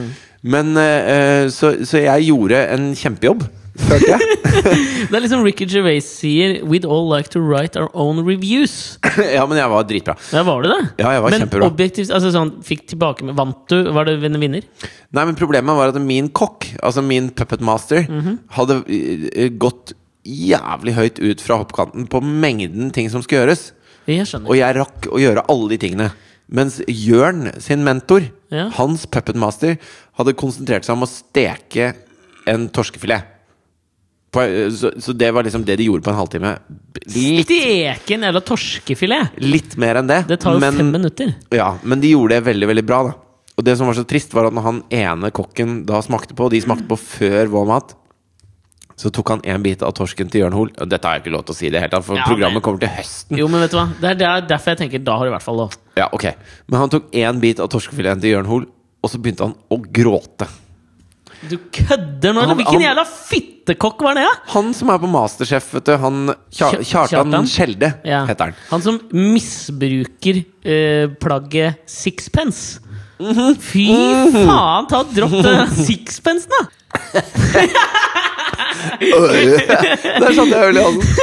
[SPEAKER 1] Men eh, eh, så, så jeg gjorde en kjempejobb, følte jeg.
[SPEAKER 2] Det er liksom Ricky Gervais sier We'd all like to write our own reviews.
[SPEAKER 1] ja, men jeg var dritbra.
[SPEAKER 2] Ja, var det det?
[SPEAKER 1] Ja, jeg var
[SPEAKER 2] Men
[SPEAKER 1] kjempebra.
[SPEAKER 2] objektivt, altså sånn, fikk tilbake med Vant du? Var det en vinner?
[SPEAKER 1] Nei, men problemet var at min kokk, altså min puppet master, hadde eh, gått jævlig høyt ut fra hoppkanten på mengden ting som skulle gjøres.
[SPEAKER 2] Jeg
[SPEAKER 1] Og
[SPEAKER 2] skjønner.
[SPEAKER 1] jeg rakk å gjøre alle de tingene. Mens Jørn sin mentor,
[SPEAKER 2] Ja.
[SPEAKER 1] hans puppet master, hadde konsentrert seg om å steke en torskefilet. På, eh, så, så det var liksom det de gjorde på en halvtime. Litt,
[SPEAKER 2] Steken jævla torskefilet!
[SPEAKER 1] litt mer enn det.
[SPEAKER 2] Det tar jo
[SPEAKER 1] men-
[SPEAKER 2] fem minutter.
[SPEAKER 1] ja, men de gjorde det veldig, veldig bra da Og det som var så trist var at når han ene kokken da smakte på Og de smakte på før vår mat Så tok han en bit av torsken til Jørn Hoel Og Dette har jeg ikke lov til å si i det hele tatt For
[SPEAKER 2] Ja,
[SPEAKER 1] programmet
[SPEAKER 2] men-
[SPEAKER 1] kommer til høsten
[SPEAKER 2] Jo, men vet du hva? Det er der, derfor jeg tenker da har du i hvert fall lov.
[SPEAKER 1] Ja, ok Men han tok en bit av torskefileten til Jørn Hoel Og så begynte han å gråte
[SPEAKER 2] Du kødder
[SPEAKER 1] Han-
[SPEAKER 2] nå! eller? Hvilken
[SPEAKER 1] han-
[SPEAKER 2] jævla fittekokk var det? Ja?
[SPEAKER 1] Han som er på Masterchef, vet du Han Kja
[SPEAKER 2] Kja-
[SPEAKER 1] Kjartan,
[SPEAKER 2] Kjartan?
[SPEAKER 1] Skjelde
[SPEAKER 2] Ja.
[SPEAKER 1] heter han
[SPEAKER 2] Han som misbruker eh, plagget sixpence. Mhm. Fy faen, ta og dropp den sixpencen, da!
[SPEAKER 1] Der satt jeg øl i halsen!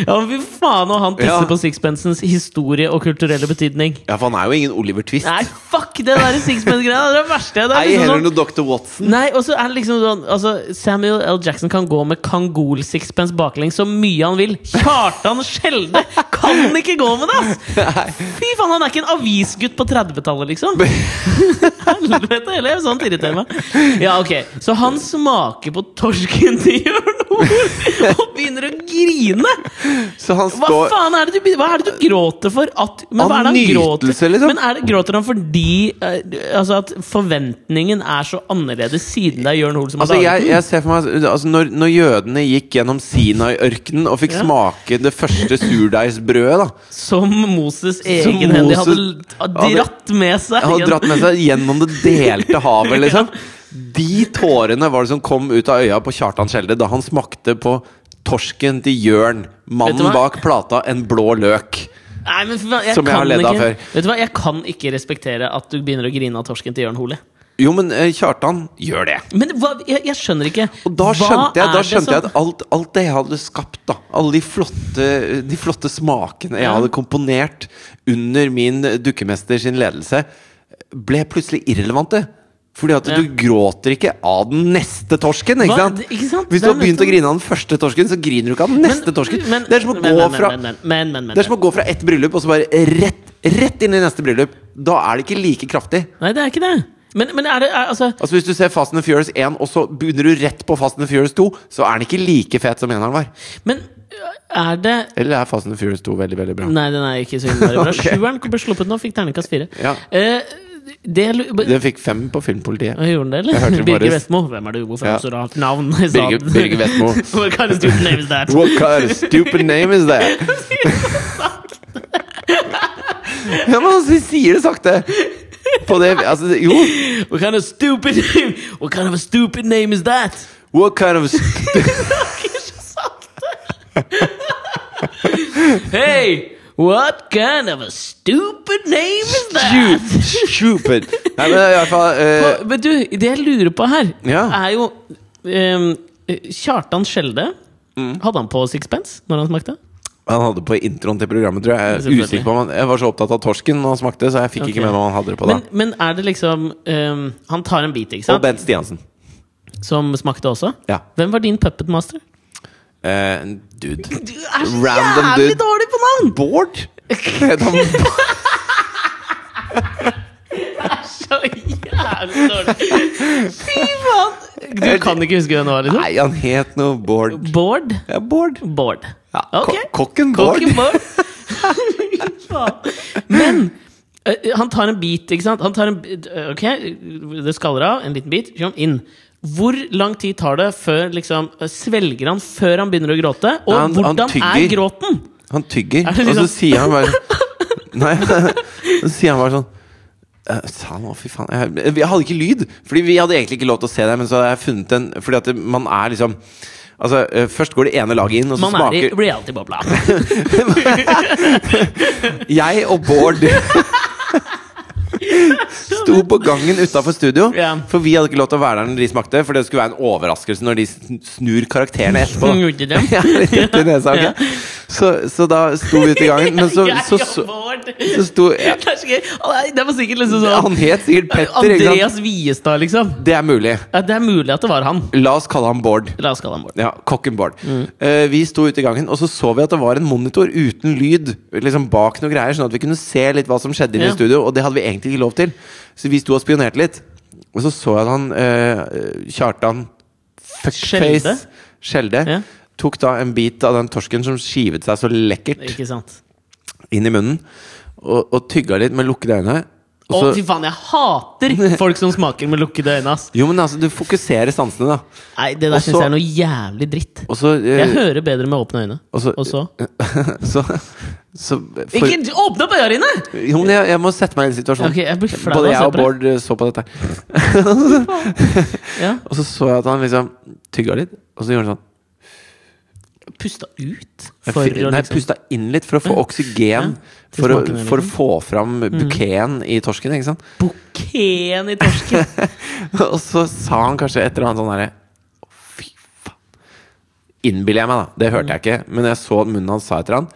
[SPEAKER 2] Ja, men fy faen, og han
[SPEAKER 1] Ja.
[SPEAKER 2] pisser på sixpensens historie og kulturelle betydning.
[SPEAKER 1] Ja, for han er jo ingen Oliver Twist.
[SPEAKER 2] Nei, fuck det der sixpence-greia! Det er det verste. Det er
[SPEAKER 1] Ei
[SPEAKER 2] liksom
[SPEAKER 1] heller
[SPEAKER 2] sånn-
[SPEAKER 1] noe Dr. Watson.
[SPEAKER 2] Nei, og så er det liksom sånn altså, Samuel L. Jackson kan gå med Kangol-sixpence baklengs så mye han vil. Kjartan Skjelde kan ikke gå med det! ass! Fy faen, han er ikke en avisgutt på 30-tallet, liksom! Helvete heller! Sånt irriterer meg. Ja, ok. Så han smaker på torsken til Jørn Hoel og begynner å grine!
[SPEAKER 1] Så han
[SPEAKER 2] Hva
[SPEAKER 1] står
[SPEAKER 2] faen er det du, begynner- hva er det du gråter for? At, men
[SPEAKER 1] Av
[SPEAKER 2] hva er det han gråter
[SPEAKER 1] nytelse, liksom?
[SPEAKER 2] Men er det, Gråter han fordi eh, altså at forventningen er så annerledes siden det er Jørn Hoel som har
[SPEAKER 1] Altså, jeg,
[SPEAKER 2] laget den?
[SPEAKER 1] jeg ser for meg altså, når, når jødene gikk gjennom Sinai-ørkenen og fikk
[SPEAKER 2] Ja.
[SPEAKER 1] smake det første surdeigsbrødet, da
[SPEAKER 2] Som Moses egenhendig hadde
[SPEAKER 1] Moses
[SPEAKER 2] l- dratt med seg.
[SPEAKER 1] Han hadde
[SPEAKER 2] igjen.
[SPEAKER 1] dratt med seg gjennom det delte havet, liksom. De tårene var det som kom ut av øya på Kjartan Skjelde da han smakte på torsken til Jørn,
[SPEAKER 2] Vet du
[SPEAKER 1] mannen
[SPEAKER 2] hva?
[SPEAKER 1] bak plata En blå løk.
[SPEAKER 2] Nei, men, fy faen, jeg
[SPEAKER 1] Som jeg har
[SPEAKER 2] kan
[SPEAKER 1] ledd av
[SPEAKER 2] ikke,
[SPEAKER 1] før.
[SPEAKER 2] Vet du hva, Jeg kan ikke respektere at du begynner å grine av torsken til Jørn Hoel. jeg.
[SPEAKER 1] Jo, men eh, Kjartan gjør det.
[SPEAKER 2] Men hva, jeg, jeg skjønner ikke.
[SPEAKER 1] Og da
[SPEAKER 2] Hva
[SPEAKER 1] skjønte jeg,
[SPEAKER 2] er
[SPEAKER 1] da
[SPEAKER 2] det
[SPEAKER 1] skjønte jeg
[SPEAKER 2] som-
[SPEAKER 1] at alt, alt det jeg hadde skapt, da alle de flotte, de flotte smakene jeg
[SPEAKER 2] Ja.
[SPEAKER 1] hadde komponert under min dukkemester sin ledelse, ble plutselig irrelevante. Fordi at
[SPEAKER 2] Ja.
[SPEAKER 1] du gråter ikke av den neste torsken, ikke
[SPEAKER 2] Hva?
[SPEAKER 1] sant?
[SPEAKER 2] Ikke sant?
[SPEAKER 1] Hvis
[SPEAKER 2] Det
[SPEAKER 1] du
[SPEAKER 2] er
[SPEAKER 1] har begynt å
[SPEAKER 2] nettopp-
[SPEAKER 1] grine av den første torsken, så griner du ikke av den neste torsken.
[SPEAKER 2] Men-
[SPEAKER 1] det er som å
[SPEAKER 2] men-
[SPEAKER 1] gå
[SPEAKER 2] men-
[SPEAKER 1] fra
[SPEAKER 2] men- men- men- men- men-
[SPEAKER 1] Det er som å gå fra ett bryllup og så bare rett, rett inn i neste bryllup. Da er det ikke like kraftig.
[SPEAKER 2] Nei, det er ikke det. Men, men er det er, altså,
[SPEAKER 1] Altså Hvis du ser Fast and the Furious 1, og så begynner du rett på Fast and the Furious 2, så er den ikke like fet som eneren var.
[SPEAKER 2] Men øh, er det
[SPEAKER 1] Eller er Fast and the Furious 2 veldig, veldig bra?
[SPEAKER 2] Nei, den er ikke så innmari bra.
[SPEAKER 1] Ok.
[SPEAKER 2] Sjueren ble sluppet nå, fikk terningkast fire.
[SPEAKER 1] Ja.
[SPEAKER 2] Eh, det jeg lu-
[SPEAKER 1] Den fikk fem på Filmpolitiet.
[SPEAKER 2] Hva gjorde den det,
[SPEAKER 1] Jeg hørte
[SPEAKER 2] eller?
[SPEAKER 1] det
[SPEAKER 2] Birger
[SPEAKER 1] bare-
[SPEAKER 2] Vestmo? Hvem er du? Hvorfor
[SPEAKER 1] Ja.
[SPEAKER 2] har du så rart navn? i
[SPEAKER 1] Birger-
[SPEAKER 2] staden?
[SPEAKER 1] Birger Vestmo.
[SPEAKER 2] What kind of stupid name is that?
[SPEAKER 1] What kind of stupid name is that? ja, men altså, de sier det sakte. På det Altså, jo.
[SPEAKER 2] What kind of stupid name What kind of a stupid name is that?
[SPEAKER 1] What kind of st
[SPEAKER 2] Ikke så sakte! Hey! What kind of a stupid name is that?
[SPEAKER 1] stupid Nei, men i hvert fall eh,
[SPEAKER 2] Hva- Men du, det jeg lurer på her,
[SPEAKER 1] Ja.
[SPEAKER 2] er jo ehm, Kjartan Skjelde
[SPEAKER 1] Mm.
[SPEAKER 2] Hadde han på sixpence når han smakte?
[SPEAKER 1] Han hadde på introen til programmet, tror jeg. Jeg, er
[SPEAKER 2] Selvfølgelig.
[SPEAKER 1] usikker på om han, jeg var så opptatt av torsken når han smakte, så jeg fikk
[SPEAKER 2] Ok.
[SPEAKER 1] ikke med meg om han hadde det på da.
[SPEAKER 2] Men, men er det liksom ehm, Han tar en bit, ikke
[SPEAKER 1] Og
[SPEAKER 2] sant?
[SPEAKER 1] Bent Stiansen.
[SPEAKER 2] Som smakte også?
[SPEAKER 1] Ja.
[SPEAKER 2] Hvem var din puppet master?
[SPEAKER 1] Eh, dude.
[SPEAKER 2] Du er så
[SPEAKER 1] Random
[SPEAKER 2] jævlig
[SPEAKER 1] dude.
[SPEAKER 2] dårlig på navn!
[SPEAKER 1] Bård? Het han Bård?
[SPEAKER 2] Så jævlig dårlig! Fy faen! Du kan ikke huske hvem det var, liksom?
[SPEAKER 1] Nei, han het noe Bård.
[SPEAKER 2] Bård?
[SPEAKER 1] Ja, Bård.
[SPEAKER 2] Bård.
[SPEAKER 1] Ja,
[SPEAKER 2] Ok.
[SPEAKER 1] ko kokken Bård.
[SPEAKER 2] Kokken Bård. Fy faen. Men eh, han tar en bit, ikke sant? Han tar en, bit, eh, ok, det skaller av, en liten bit, kom inn. Hvor lang tid tar det før liksom, eh, Svelger han før han begynner å gråte? Og
[SPEAKER 1] Han- han
[SPEAKER 2] hvordan er
[SPEAKER 1] tygger.
[SPEAKER 2] gråten?
[SPEAKER 1] Han tygger,
[SPEAKER 2] Er det
[SPEAKER 1] og så
[SPEAKER 2] liksom-
[SPEAKER 1] sier han bare Nei, så sier han bare sånn «Eh, sa han, å, fy faen jeg, jeg hadde ikke lyd, Fordi vi hadde egentlig ikke lov til å se det. Men så hadde jeg funnet en Fordi at det- man er liksom Altså, eh, Først går det ene laget inn, og så
[SPEAKER 2] Man er i
[SPEAKER 1] smaker
[SPEAKER 2] reality-bobla.
[SPEAKER 1] Jeg og Bård Sto på gangen utafor studio,
[SPEAKER 2] Ja.
[SPEAKER 1] for vi hadde ikke lov til å være der når de smakte. For det skulle være en overraskelse når de sn- snur karakterene etterpå.
[SPEAKER 2] Gjorde de?
[SPEAKER 1] Ja, rett i nesa, ok. Så, så da sto vi ute i gangen, men så,
[SPEAKER 2] Jeg
[SPEAKER 1] så,
[SPEAKER 2] og
[SPEAKER 1] så,
[SPEAKER 2] Bård.
[SPEAKER 1] så sto
[SPEAKER 2] Det er så gøy. Å, nei, Det var sikkert liksom sånn
[SPEAKER 1] Han het sikkert Petter, ikke sant?
[SPEAKER 2] Andreas Viestad, liksom.
[SPEAKER 1] Det er mulig.
[SPEAKER 2] Ja, det er mulig at det var han.
[SPEAKER 1] La oss kalle ham Bård.
[SPEAKER 2] La oss kalle han Bård.
[SPEAKER 1] Ja, kokken Bård.
[SPEAKER 2] Mm.
[SPEAKER 1] Eh, vi sto ute i gangen, og så så vi at det var en monitor uten lyd Liksom bak noe greier, sånn at vi kunne se litt hva som skjedde inne
[SPEAKER 2] Ja.
[SPEAKER 1] i studio. Og det hadde vi egentlig ikke lov til. Så vi sto og spionerte litt. Og så så jeg at han eh, Kjartan Fuckface
[SPEAKER 2] Skjelde.
[SPEAKER 1] Skjelde
[SPEAKER 2] Ja.
[SPEAKER 1] tok da en bit av den torsken som skivet seg så lekkert
[SPEAKER 2] Ikke sant?
[SPEAKER 1] inn i munnen, og, og tygga litt med lukkede øyne. Og
[SPEAKER 2] Å,
[SPEAKER 1] så,
[SPEAKER 2] fy faen, jeg hater folk som smaker med lukkede øyne, ass.
[SPEAKER 1] jo, men altså, du fokuserer sansene, da.
[SPEAKER 2] Nei, det
[SPEAKER 1] Og
[SPEAKER 2] der syns
[SPEAKER 1] så-
[SPEAKER 2] jeg er noe jævlig dritt.
[SPEAKER 1] Og så eh,
[SPEAKER 2] Jeg hører bedre med åpne øyne.
[SPEAKER 1] Og så-
[SPEAKER 2] Og så
[SPEAKER 1] Så, så for,
[SPEAKER 2] Ikke åpne opp øya dine!
[SPEAKER 1] Jo, men jeg, jeg må sette meg i en situasjon.
[SPEAKER 2] Ok, jeg blir flau altså, av
[SPEAKER 1] Både
[SPEAKER 2] å se
[SPEAKER 1] jeg og
[SPEAKER 2] på det.
[SPEAKER 1] Bård eh, så på dette. her.
[SPEAKER 2] Ja,
[SPEAKER 1] Og så så jeg at han liksom tygga litt, og så gjorde han sånn.
[SPEAKER 2] Pusta ut.
[SPEAKER 1] Jeg
[SPEAKER 2] For å
[SPEAKER 1] fi- nei,
[SPEAKER 2] liksom
[SPEAKER 1] pusta inn litt for å få oksygen.
[SPEAKER 2] til
[SPEAKER 1] For å,
[SPEAKER 2] smaken, Mm.
[SPEAKER 1] for å få fram bukeen i torsken, ikke sant.
[SPEAKER 2] Bukeen i torsken.
[SPEAKER 1] Og så sa han kanskje et eller annet sånn herre Å, fy faen. Innbiller jeg meg, da. Det hørte jeg ikke. Men jeg så at munnen hans sa et eller annet.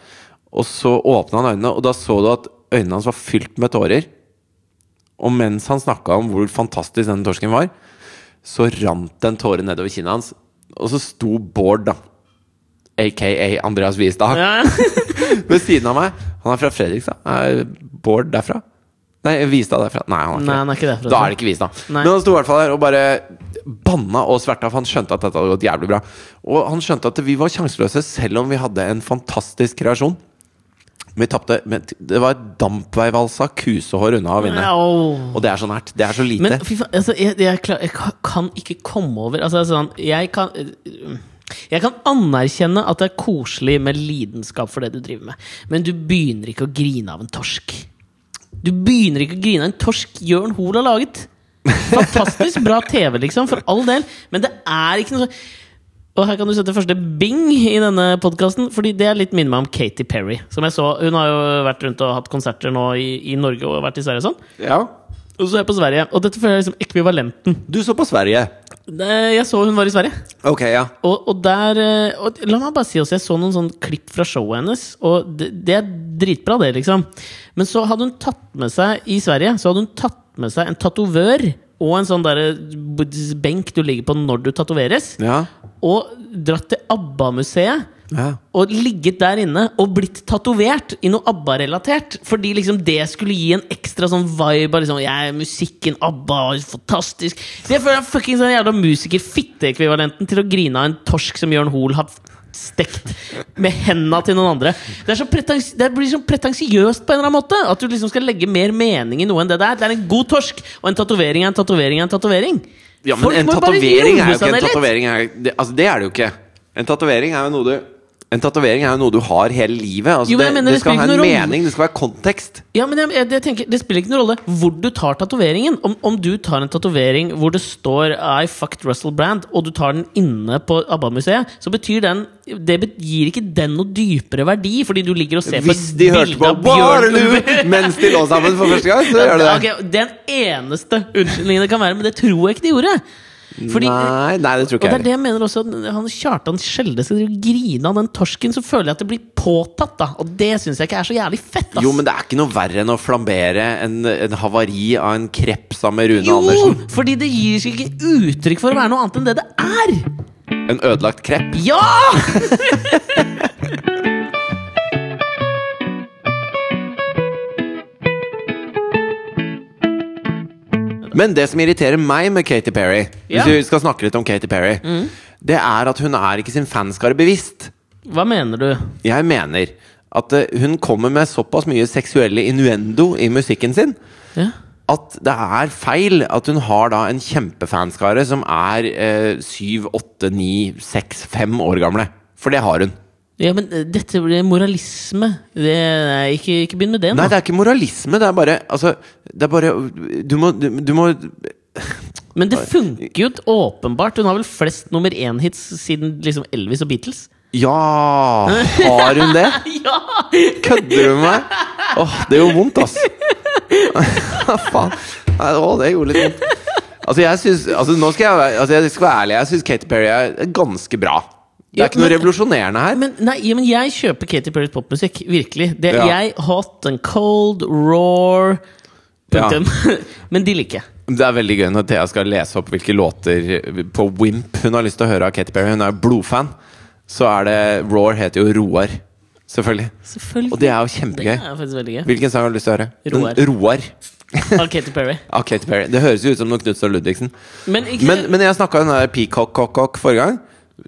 [SPEAKER 1] Og så åpna han øynene, og da så du at øynene hans var fylt med tårer. Og mens han snakka om hvor fantastisk denne torsken var, så rant det en tåre nedover kinnet hans. Og så sto Bård, da, aka Andreas Wiestad,
[SPEAKER 2] Ja.
[SPEAKER 1] ved siden av meg. Han er fra Fredrikstad. Er Bård derfra? Nei, Vistad derfra. Nei, han er ikke
[SPEAKER 2] Nei, han er ikke det.
[SPEAKER 1] da er det ikke Vistad.
[SPEAKER 2] Nei.
[SPEAKER 1] Men han sto i hvert fall der og bare banna og sverta, for han skjønte at dette hadde gått jævlig bra. Og han skjønte at vi var sjanseløse, selv om vi hadde en fantastisk kreasjon. Vi tapte. men Det var et dampveivalsa kusehår unna å vinne.
[SPEAKER 2] Ja, åh.
[SPEAKER 1] Og det er så nært. Det er så lite.
[SPEAKER 2] Men fy faen, altså, jeg, jeg, er klar, jeg kan- kan ikke komme over altså, sånn, jeg, kan, eh, jeg kan anerkjenne at det er koselig med lidenskap for det du driver med, men du begynner ikke å grine av en torsk. Du begynner ikke å grine av en torsk Jørn Hoel har laget. Fantastisk bra TV, liksom, for all del, men det er ikke noe sånn og her kan du sette første bing i denne podkasten, fordi det litt minner meg om Katy Perry. Som jeg så, Hun har jo vært rundt og hatt konserter nå i, i Norge og vært i Sverige og sånn.
[SPEAKER 1] ja.
[SPEAKER 2] Og så er jeg på Sverige, og dette føler jeg er liksom ekvivalenten.
[SPEAKER 1] Du så på Sverige.
[SPEAKER 2] Eh, Jeg så hun var i Sverige,
[SPEAKER 1] Ok, ja.
[SPEAKER 2] og, og der eh, og La meg bare si også, jeg så noen sånn klipp fra showet hennes, og det, det er dritbra, det, liksom. Men så hadde hun tatt med seg i Sverige Så hadde hun tatt med seg en tatovør og en sånn derre b- benk du ligger på når du tatoveres,
[SPEAKER 1] Ja.
[SPEAKER 2] og dratt til ABBA-museet.
[SPEAKER 1] ja.
[SPEAKER 2] Og ligget der inne og blitt tatovert i noe ABBA-relatert. Fordi liksom det skulle gi en ekstra sånn vibe. av Liksom, jeg er musikken, ABBA, fantastisk Det føler jeg fuckings den jævla musiker-fitteekvivalenten til å grine av en torsk som Jørn Hoel har stekt med henda til noen andre. Det, er så pretens det blir så pretensiøst på en eller annen måte. At du liksom skal legge mer mening i noe enn det der. Det er en god torsk, og en tatovering er en tatovering er en tatovering.
[SPEAKER 1] ja men
[SPEAKER 2] Folk
[SPEAKER 1] en
[SPEAKER 2] må bare
[SPEAKER 1] tatovering
[SPEAKER 2] roe
[SPEAKER 1] er jo ikke
[SPEAKER 2] seg
[SPEAKER 1] en
[SPEAKER 2] ned litt.
[SPEAKER 1] tatovering. Er, det, altså, det er det jo ikke. En tatovering er jo noe du en tatovering er jo noe du har hele livet. Altså,
[SPEAKER 2] Jo, men
[SPEAKER 1] det,
[SPEAKER 2] jeg mener,
[SPEAKER 1] det
[SPEAKER 2] det
[SPEAKER 1] skal ha
[SPEAKER 2] spiller
[SPEAKER 1] en
[SPEAKER 2] ikke noe rolle.
[SPEAKER 1] mening, det skal være kontekst.
[SPEAKER 2] Ja, men jeg, jeg, jeg tenker, Det spiller ikke noen rolle hvor du tar tatoveringen. Om, om du tar en tatovering hvor det står 'I fucked Russell Brand', og du tar den inne på ABBA-museet, så betyr den Det bet- gir ikke den noe dypere verdi, fordi du ligger og ser
[SPEAKER 1] Hvis
[SPEAKER 2] på
[SPEAKER 1] de
[SPEAKER 2] et
[SPEAKER 1] hørte
[SPEAKER 2] bilde
[SPEAKER 1] på
[SPEAKER 2] av Bjørn
[SPEAKER 1] Waterloo mens de lå sammen for første gang, så gjør de det.
[SPEAKER 2] Ok, Den eneste unnskyldningen det kan være, men det tror jeg ikke de gjorde. Fordi,
[SPEAKER 1] Nei, nei, det tror
[SPEAKER 2] og
[SPEAKER 1] ikke
[SPEAKER 2] det er
[SPEAKER 1] jeg.
[SPEAKER 2] det jeg mener også at han Kjartan Skjelde skal drive og grine av den torsken, så føler jeg at det blir påtatt, da. Og det syns jeg ikke er så jævlig fett, ass.
[SPEAKER 1] Jo, men det er ikke noe verre enn å flambere en, en havari av en krepp sammen med Rune
[SPEAKER 2] Jo,
[SPEAKER 1] Andersen.
[SPEAKER 2] fordi det gir seg ikke uttrykk for å være noe annet enn det det er!
[SPEAKER 1] En ødelagt krepp.
[SPEAKER 2] Ja!
[SPEAKER 1] Men det som irriterer meg med Katy Perry,
[SPEAKER 2] Ja. Mm.
[SPEAKER 1] hvis vi skal snakke litt om Katy Perry, det er at hun er ikke sin fanskare bevisst.
[SPEAKER 2] Hva mener du?
[SPEAKER 1] Jeg mener at eh, hun kommer med såpass mye seksuelle innuendo i musikken sin
[SPEAKER 2] Ja.
[SPEAKER 1] at det er feil at hun har da en kjempefanskare som er eh, 7, 8, 9, 6, 5 år gamle. For det har hun.
[SPEAKER 2] ja, men eh, dette blir moralisme. Det, nei, ikke, ikke begynn med det
[SPEAKER 1] Nei,
[SPEAKER 2] nå.
[SPEAKER 1] det er ikke moralisme. Det er bare Altså, det er bare Du må, du, du må
[SPEAKER 2] Men det funker jo t- åpenbart. Hun har vel flest nummer én-hits siden liksom Elvis og Beatles.
[SPEAKER 1] Ja! Har hun det?
[SPEAKER 2] Ja!
[SPEAKER 1] Kødder du med meg? Åh, det gjorde vondt, ass. Faen. Nei, Åh, det gjorde litt vondt. Altså, jeg synes, altså, nå skal jeg, være- altså, jeg skal være ærlig. Jeg syns Katy Perry er ganske bra. Det
[SPEAKER 2] Ja,
[SPEAKER 1] er ikke noe
[SPEAKER 2] men-
[SPEAKER 1] revolusjonerende her.
[SPEAKER 2] Men, nei, ja, men jeg kjøper Katy Perrys popmusikk. Virkelig. Det,
[SPEAKER 1] Ja.
[SPEAKER 2] Jeg Hot and cold, roar
[SPEAKER 1] Ja.
[SPEAKER 2] Punktum. Men de liker jeg.
[SPEAKER 1] Det er veldig gøy når Thea skal lese opp hvilke låter på Wimp hun har lyst til å høre av Katy Perry. Hun er jo blodfan. Så er det Roar heter jo Roar, selvfølgelig.
[SPEAKER 2] Selvfølgelig.
[SPEAKER 1] Og det er jo
[SPEAKER 2] Det
[SPEAKER 1] kjempegøy.
[SPEAKER 2] er faktisk veldig gøy.
[SPEAKER 1] Hvilken sang har du lyst til å høre? Den-
[SPEAKER 2] Roar.
[SPEAKER 1] Roar
[SPEAKER 2] Av Katy Perry.
[SPEAKER 1] av Katy Perry. Det høres jo ut som noe Knutsen og Ludvigsen.
[SPEAKER 2] Men, ikke,
[SPEAKER 1] Men, men jeg snakka om den der peacock-cock-cock forrige gang.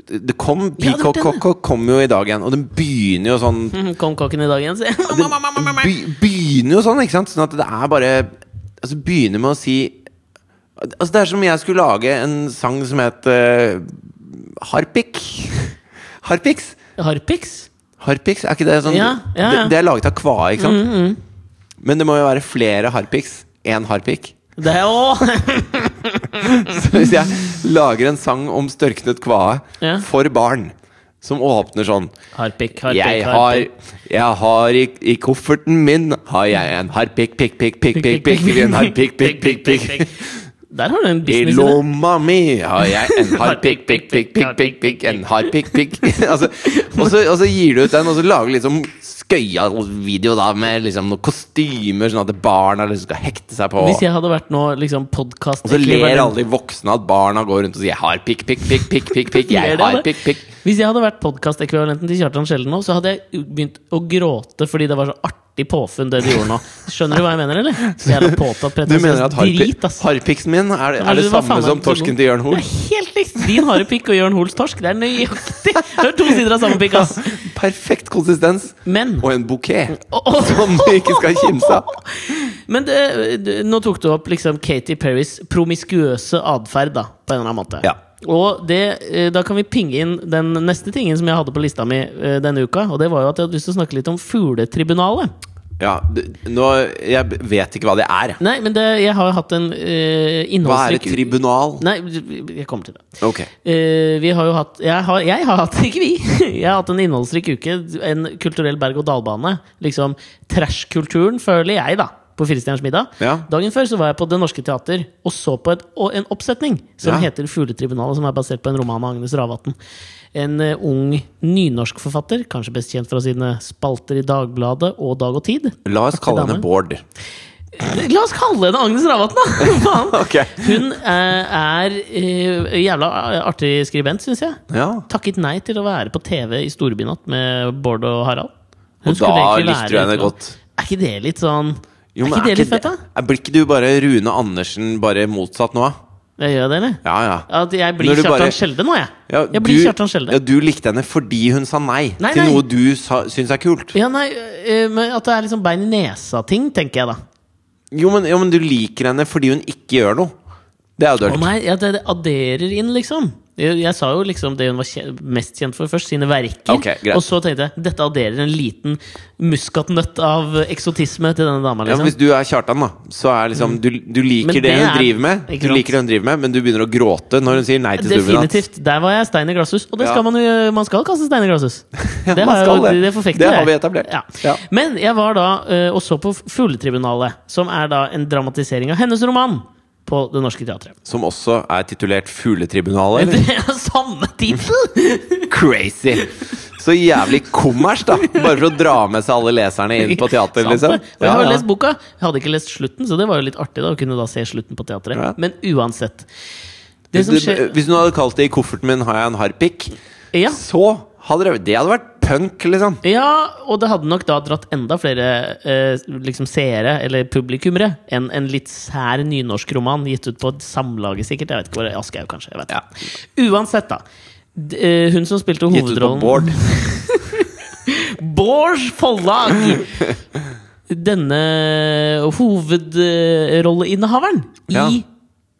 [SPEAKER 1] Det kom,
[SPEAKER 2] Ja, det var den.
[SPEAKER 1] Peacock-cock-cock kom jo i dag igjen, og den begynner jo sånn
[SPEAKER 2] Mhm, Kom kokken i dag igjen, sier jeg.
[SPEAKER 1] Den
[SPEAKER 2] mm.
[SPEAKER 1] be- begynner jo sånn, ikke sant? Sånn at det er bare Altså Begynner med å si Altså Det er som om jeg skulle lage en sang som het eh, Harpik. Harpiks.
[SPEAKER 2] Harpix?
[SPEAKER 1] Harpiks, er ikke det sånn
[SPEAKER 2] Ja, ja, ja. Mm,
[SPEAKER 1] Det, det er laget av kvae, ikke sant? Men det må jo være flere harpiks. Én harpik.
[SPEAKER 2] Det er jo
[SPEAKER 1] Så hvis jeg lager en sang om størknet kvae
[SPEAKER 2] Ja.
[SPEAKER 1] for barn, som åpner sånn
[SPEAKER 2] Harpik, harpik,
[SPEAKER 1] jeg har, jeg har i, i kofferten min har jeg en harpik, pikk, pikk, pikk, pikk, pikk, en harpik, pikk, pikk, pikk.
[SPEAKER 2] Der har du en
[SPEAKER 1] I
[SPEAKER 2] business i det.
[SPEAKER 1] lomma mi har jeg en hard pikk, pikk, pikk, pikk, pikk, pikk, en hard pikk, pikk. altså, og, så, og så gir du ut den, og så lager du liksom skøya video da, med liksom noen kostymer, sånn at barna liksom skal hekte seg på.
[SPEAKER 2] Hvis jeg hadde vært nå liksom podkast
[SPEAKER 1] Og så ler alle de voksne at barna går rundt og sier 'hard pikk, pikk, pikk, pikk', pikk, pikk
[SPEAKER 2] Ler
[SPEAKER 1] jeg
[SPEAKER 2] de av
[SPEAKER 1] har
[SPEAKER 2] det?
[SPEAKER 1] pikk, pikk.
[SPEAKER 2] Hvis jeg hadde vært podkastekvivalenten til Kjartan Skjelden nå, så hadde jeg begynt å gråte fordi det var så artig påfunn det du gjorde nå. Skjønner du hva jeg mener, eller? Jævla påtatt
[SPEAKER 1] Du mener at
[SPEAKER 2] pretensiøs
[SPEAKER 1] hard pikk-
[SPEAKER 2] drit, ass.
[SPEAKER 1] hard pikksen min er, det- er det
[SPEAKER 2] Hva
[SPEAKER 1] samme som
[SPEAKER 2] faen det for noe?
[SPEAKER 1] torsken til Jørn Hoel?
[SPEAKER 2] Det er helt likt! Din harde pikk og Jørn Hoels torsk. Det er nøyaktig! Det er to sider av samme pikk, ass.
[SPEAKER 1] Perfekt konsistens
[SPEAKER 2] Men
[SPEAKER 1] og en bukett
[SPEAKER 2] Å, å.
[SPEAKER 1] som du ikke skal kimse av.
[SPEAKER 2] Men det, det, nå tok du opp liksom Katy Perrys promiskuøse atferd, da, på en eller annen måte.
[SPEAKER 1] Ja.
[SPEAKER 2] Og det, eh, da kan vi pinge inn den neste tingen som jeg hadde på lista mi eh, denne uka. Og det var jo at jeg hadde lyst til å snakke litt om fugletribunalet.
[SPEAKER 1] Ja, du- nå, jeg vet ikke hva det er. jeg.
[SPEAKER 2] Nei, men det, jeg har jo hatt en eh,
[SPEAKER 1] Hva er et
[SPEAKER 2] innholdsrik
[SPEAKER 1] tribunal?
[SPEAKER 2] Nei, jeg kommer til det.
[SPEAKER 1] Ok,
[SPEAKER 2] Eh, vi har jo hatt jeg har, jeg har hatt, ikke vi! Jeg har hatt en innholdsrik uke. En kulturell berg-og-dal-bane. Liksom trash-kulturen, føler jeg, da. På Firestjerners middag.
[SPEAKER 1] Ja.
[SPEAKER 2] Dagen før så var jeg på Det Norske Teater og så på et, og en oppsetning som
[SPEAKER 1] Ja.
[SPEAKER 2] heter Fugletribunalet, som er basert på en roman av Agnes Ravatn. En eh, ung nynorsk forfatter, kanskje best kjent fra sine spalter i Dagbladet og Dag og Tid.
[SPEAKER 1] La oss kalle henne
[SPEAKER 2] dame.
[SPEAKER 1] Bård.
[SPEAKER 2] La oss kalle henne Agnes Ravatn, da! Faen.
[SPEAKER 1] Ok.
[SPEAKER 2] Hun eh, er eh, jævla artig skribent, syns jeg
[SPEAKER 1] Ja.
[SPEAKER 2] takket nei til å være på TV i storbynatt med Bård og Harald. Hun
[SPEAKER 1] Og
[SPEAKER 2] skulle
[SPEAKER 1] da
[SPEAKER 2] egentlig
[SPEAKER 1] likte
[SPEAKER 2] være
[SPEAKER 1] du henne
[SPEAKER 2] litt sånn-
[SPEAKER 1] godt.
[SPEAKER 2] Er ikke det litt sånn
[SPEAKER 1] Jo,
[SPEAKER 2] Er
[SPEAKER 1] men
[SPEAKER 2] ikke det litt fett, da?
[SPEAKER 1] er- Blir ikke du bare Rune Andersen, bare motsatt nå?
[SPEAKER 2] Jeg gjør det, eller?
[SPEAKER 1] Ja, ja.
[SPEAKER 2] At jeg blir
[SPEAKER 1] Når du
[SPEAKER 2] Kjartan
[SPEAKER 1] bare-
[SPEAKER 2] Skjelde nå, jeg.
[SPEAKER 1] ja
[SPEAKER 2] jeg blir Kjartan Skjelde.
[SPEAKER 1] Ja, du likte henne fordi hun sa nei,
[SPEAKER 2] Nei,
[SPEAKER 1] til
[SPEAKER 2] nei.
[SPEAKER 1] noe du sa, syns er kult.
[SPEAKER 2] Ja, nei, øh, men At det er liksom bein i nesa-ting, tenker jeg da.
[SPEAKER 1] Jo men, jo, men du liker henne fordi hun ikke gjør noe. Det er jo
[SPEAKER 2] Å
[SPEAKER 1] dølt.
[SPEAKER 2] nei, ja, det, det adderer inn, liksom. Jeg, jeg sa jo liksom det hun var kje, mest kjent for først, sine verker.
[SPEAKER 1] Ok, greit.
[SPEAKER 2] og så tenkte jeg dette adderer en liten muskatnøtt av eksotisme til denne dama.
[SPEAKER 1] Ja, men
[SPEAKER 2] Liksom. Mm.
[SPEAKER 1] hvis du er Kjartan, da, så er liksom Du, du liker det,
[SPEAKER 2] Men det
[SPEAKER 1] hun
[SPEAKER 2] er-
[SPEAKER 1] driver med,
[SPEAKER 2] ikke
[SPEAKER 1] du
[SPEAKER 2] sant?
[SPEAKER 1] liker det hun driver med, men du begynner å gråte når hun sier nei til Supernatt.
[SPEAKER 2] Definitivt. Der var jeg stein i glasshus. Og det
[SPEAKER 1] Ja.
[SPEAKER 2] skal man jo gjøre. Man skal kaste stein i glasshus. Det,
[SPEAKER 1] man
[SPEAKER 2] har jeg
[SPEAKER 1] skal
[SPEAKER 2] jo-
[SPEAKER 1] det.
[SPEAKER 2] det forfekter
[SPEAKER 1] Det har
[SPEAKER 2] jeg.
[SPEAKER 1] vi etablert.
[SPEAKER 2] Ja.
[SPEAKER 1] Ja.
[SPEAKER 2] Men jeg var da eh, og så på Fugletribunalet, som er da en dramatisering av hennes roman på Det Norske Teatret.
[SPEAKER 1] Som også er titulert Fugletribunalet,
[SPEAKER 2] Det
[SPEAKER 1] eller?
[SPEAKER 2] er samme tittel!
[SPEAKER 1] Crazy! Så jævlig kommers, da! Bare for å dra med seg alle leserne inn på teater,
[SPEAKER 2] Sant det.
[SPEAKER 1] liksom.
[SPEAKER 2] Og jeg har
[SPEAKER 1] Ja,
[SPEAKER 2] jo
[SPEAKER 1] ja.
[SPEAKER 2] lest boka. Jeg hadde ikke lest slutten, så det var jo litt artig da å kunne da se slutten på teatret.
[SPEAKER 1] Ja.
[SPEAKER 2] Men uansett. Det som
[SPEAKER 1] Du-
[SPEAKER 2] skjer
[SPEAKER 1] Hvis hun hadde kalt det 'I kofferten min har jeg en harpik',
[SPEAKER 2] Ja.
[SPEAKER 1] så hadde det, det hadde vært punk, liksom.
[SPEAKER 2] Ja, og det hadde nok da dratt enda flere eh, liksom seere, eller publikummere, enn en litt sær nynorskroman gitt ut på et samlage, sikkert. Jeg vet ikke hvor Aschehoug, kanskje. Jeg vet.
[SPEAKER 1] Ja.
[SPEAKER 2] ikke. Uansett, da. D eh, hun som spilte
[SPEAKER 1] Gitt ut på
[SPEAKER 2] hovedrollen
[SPEAKER 1] Bård.
[SPEAKER 2] Bårds forlag! Denne hovedrolleinnehaveren
[SPEAKER 1] Ja.
[SPEAKER 2] i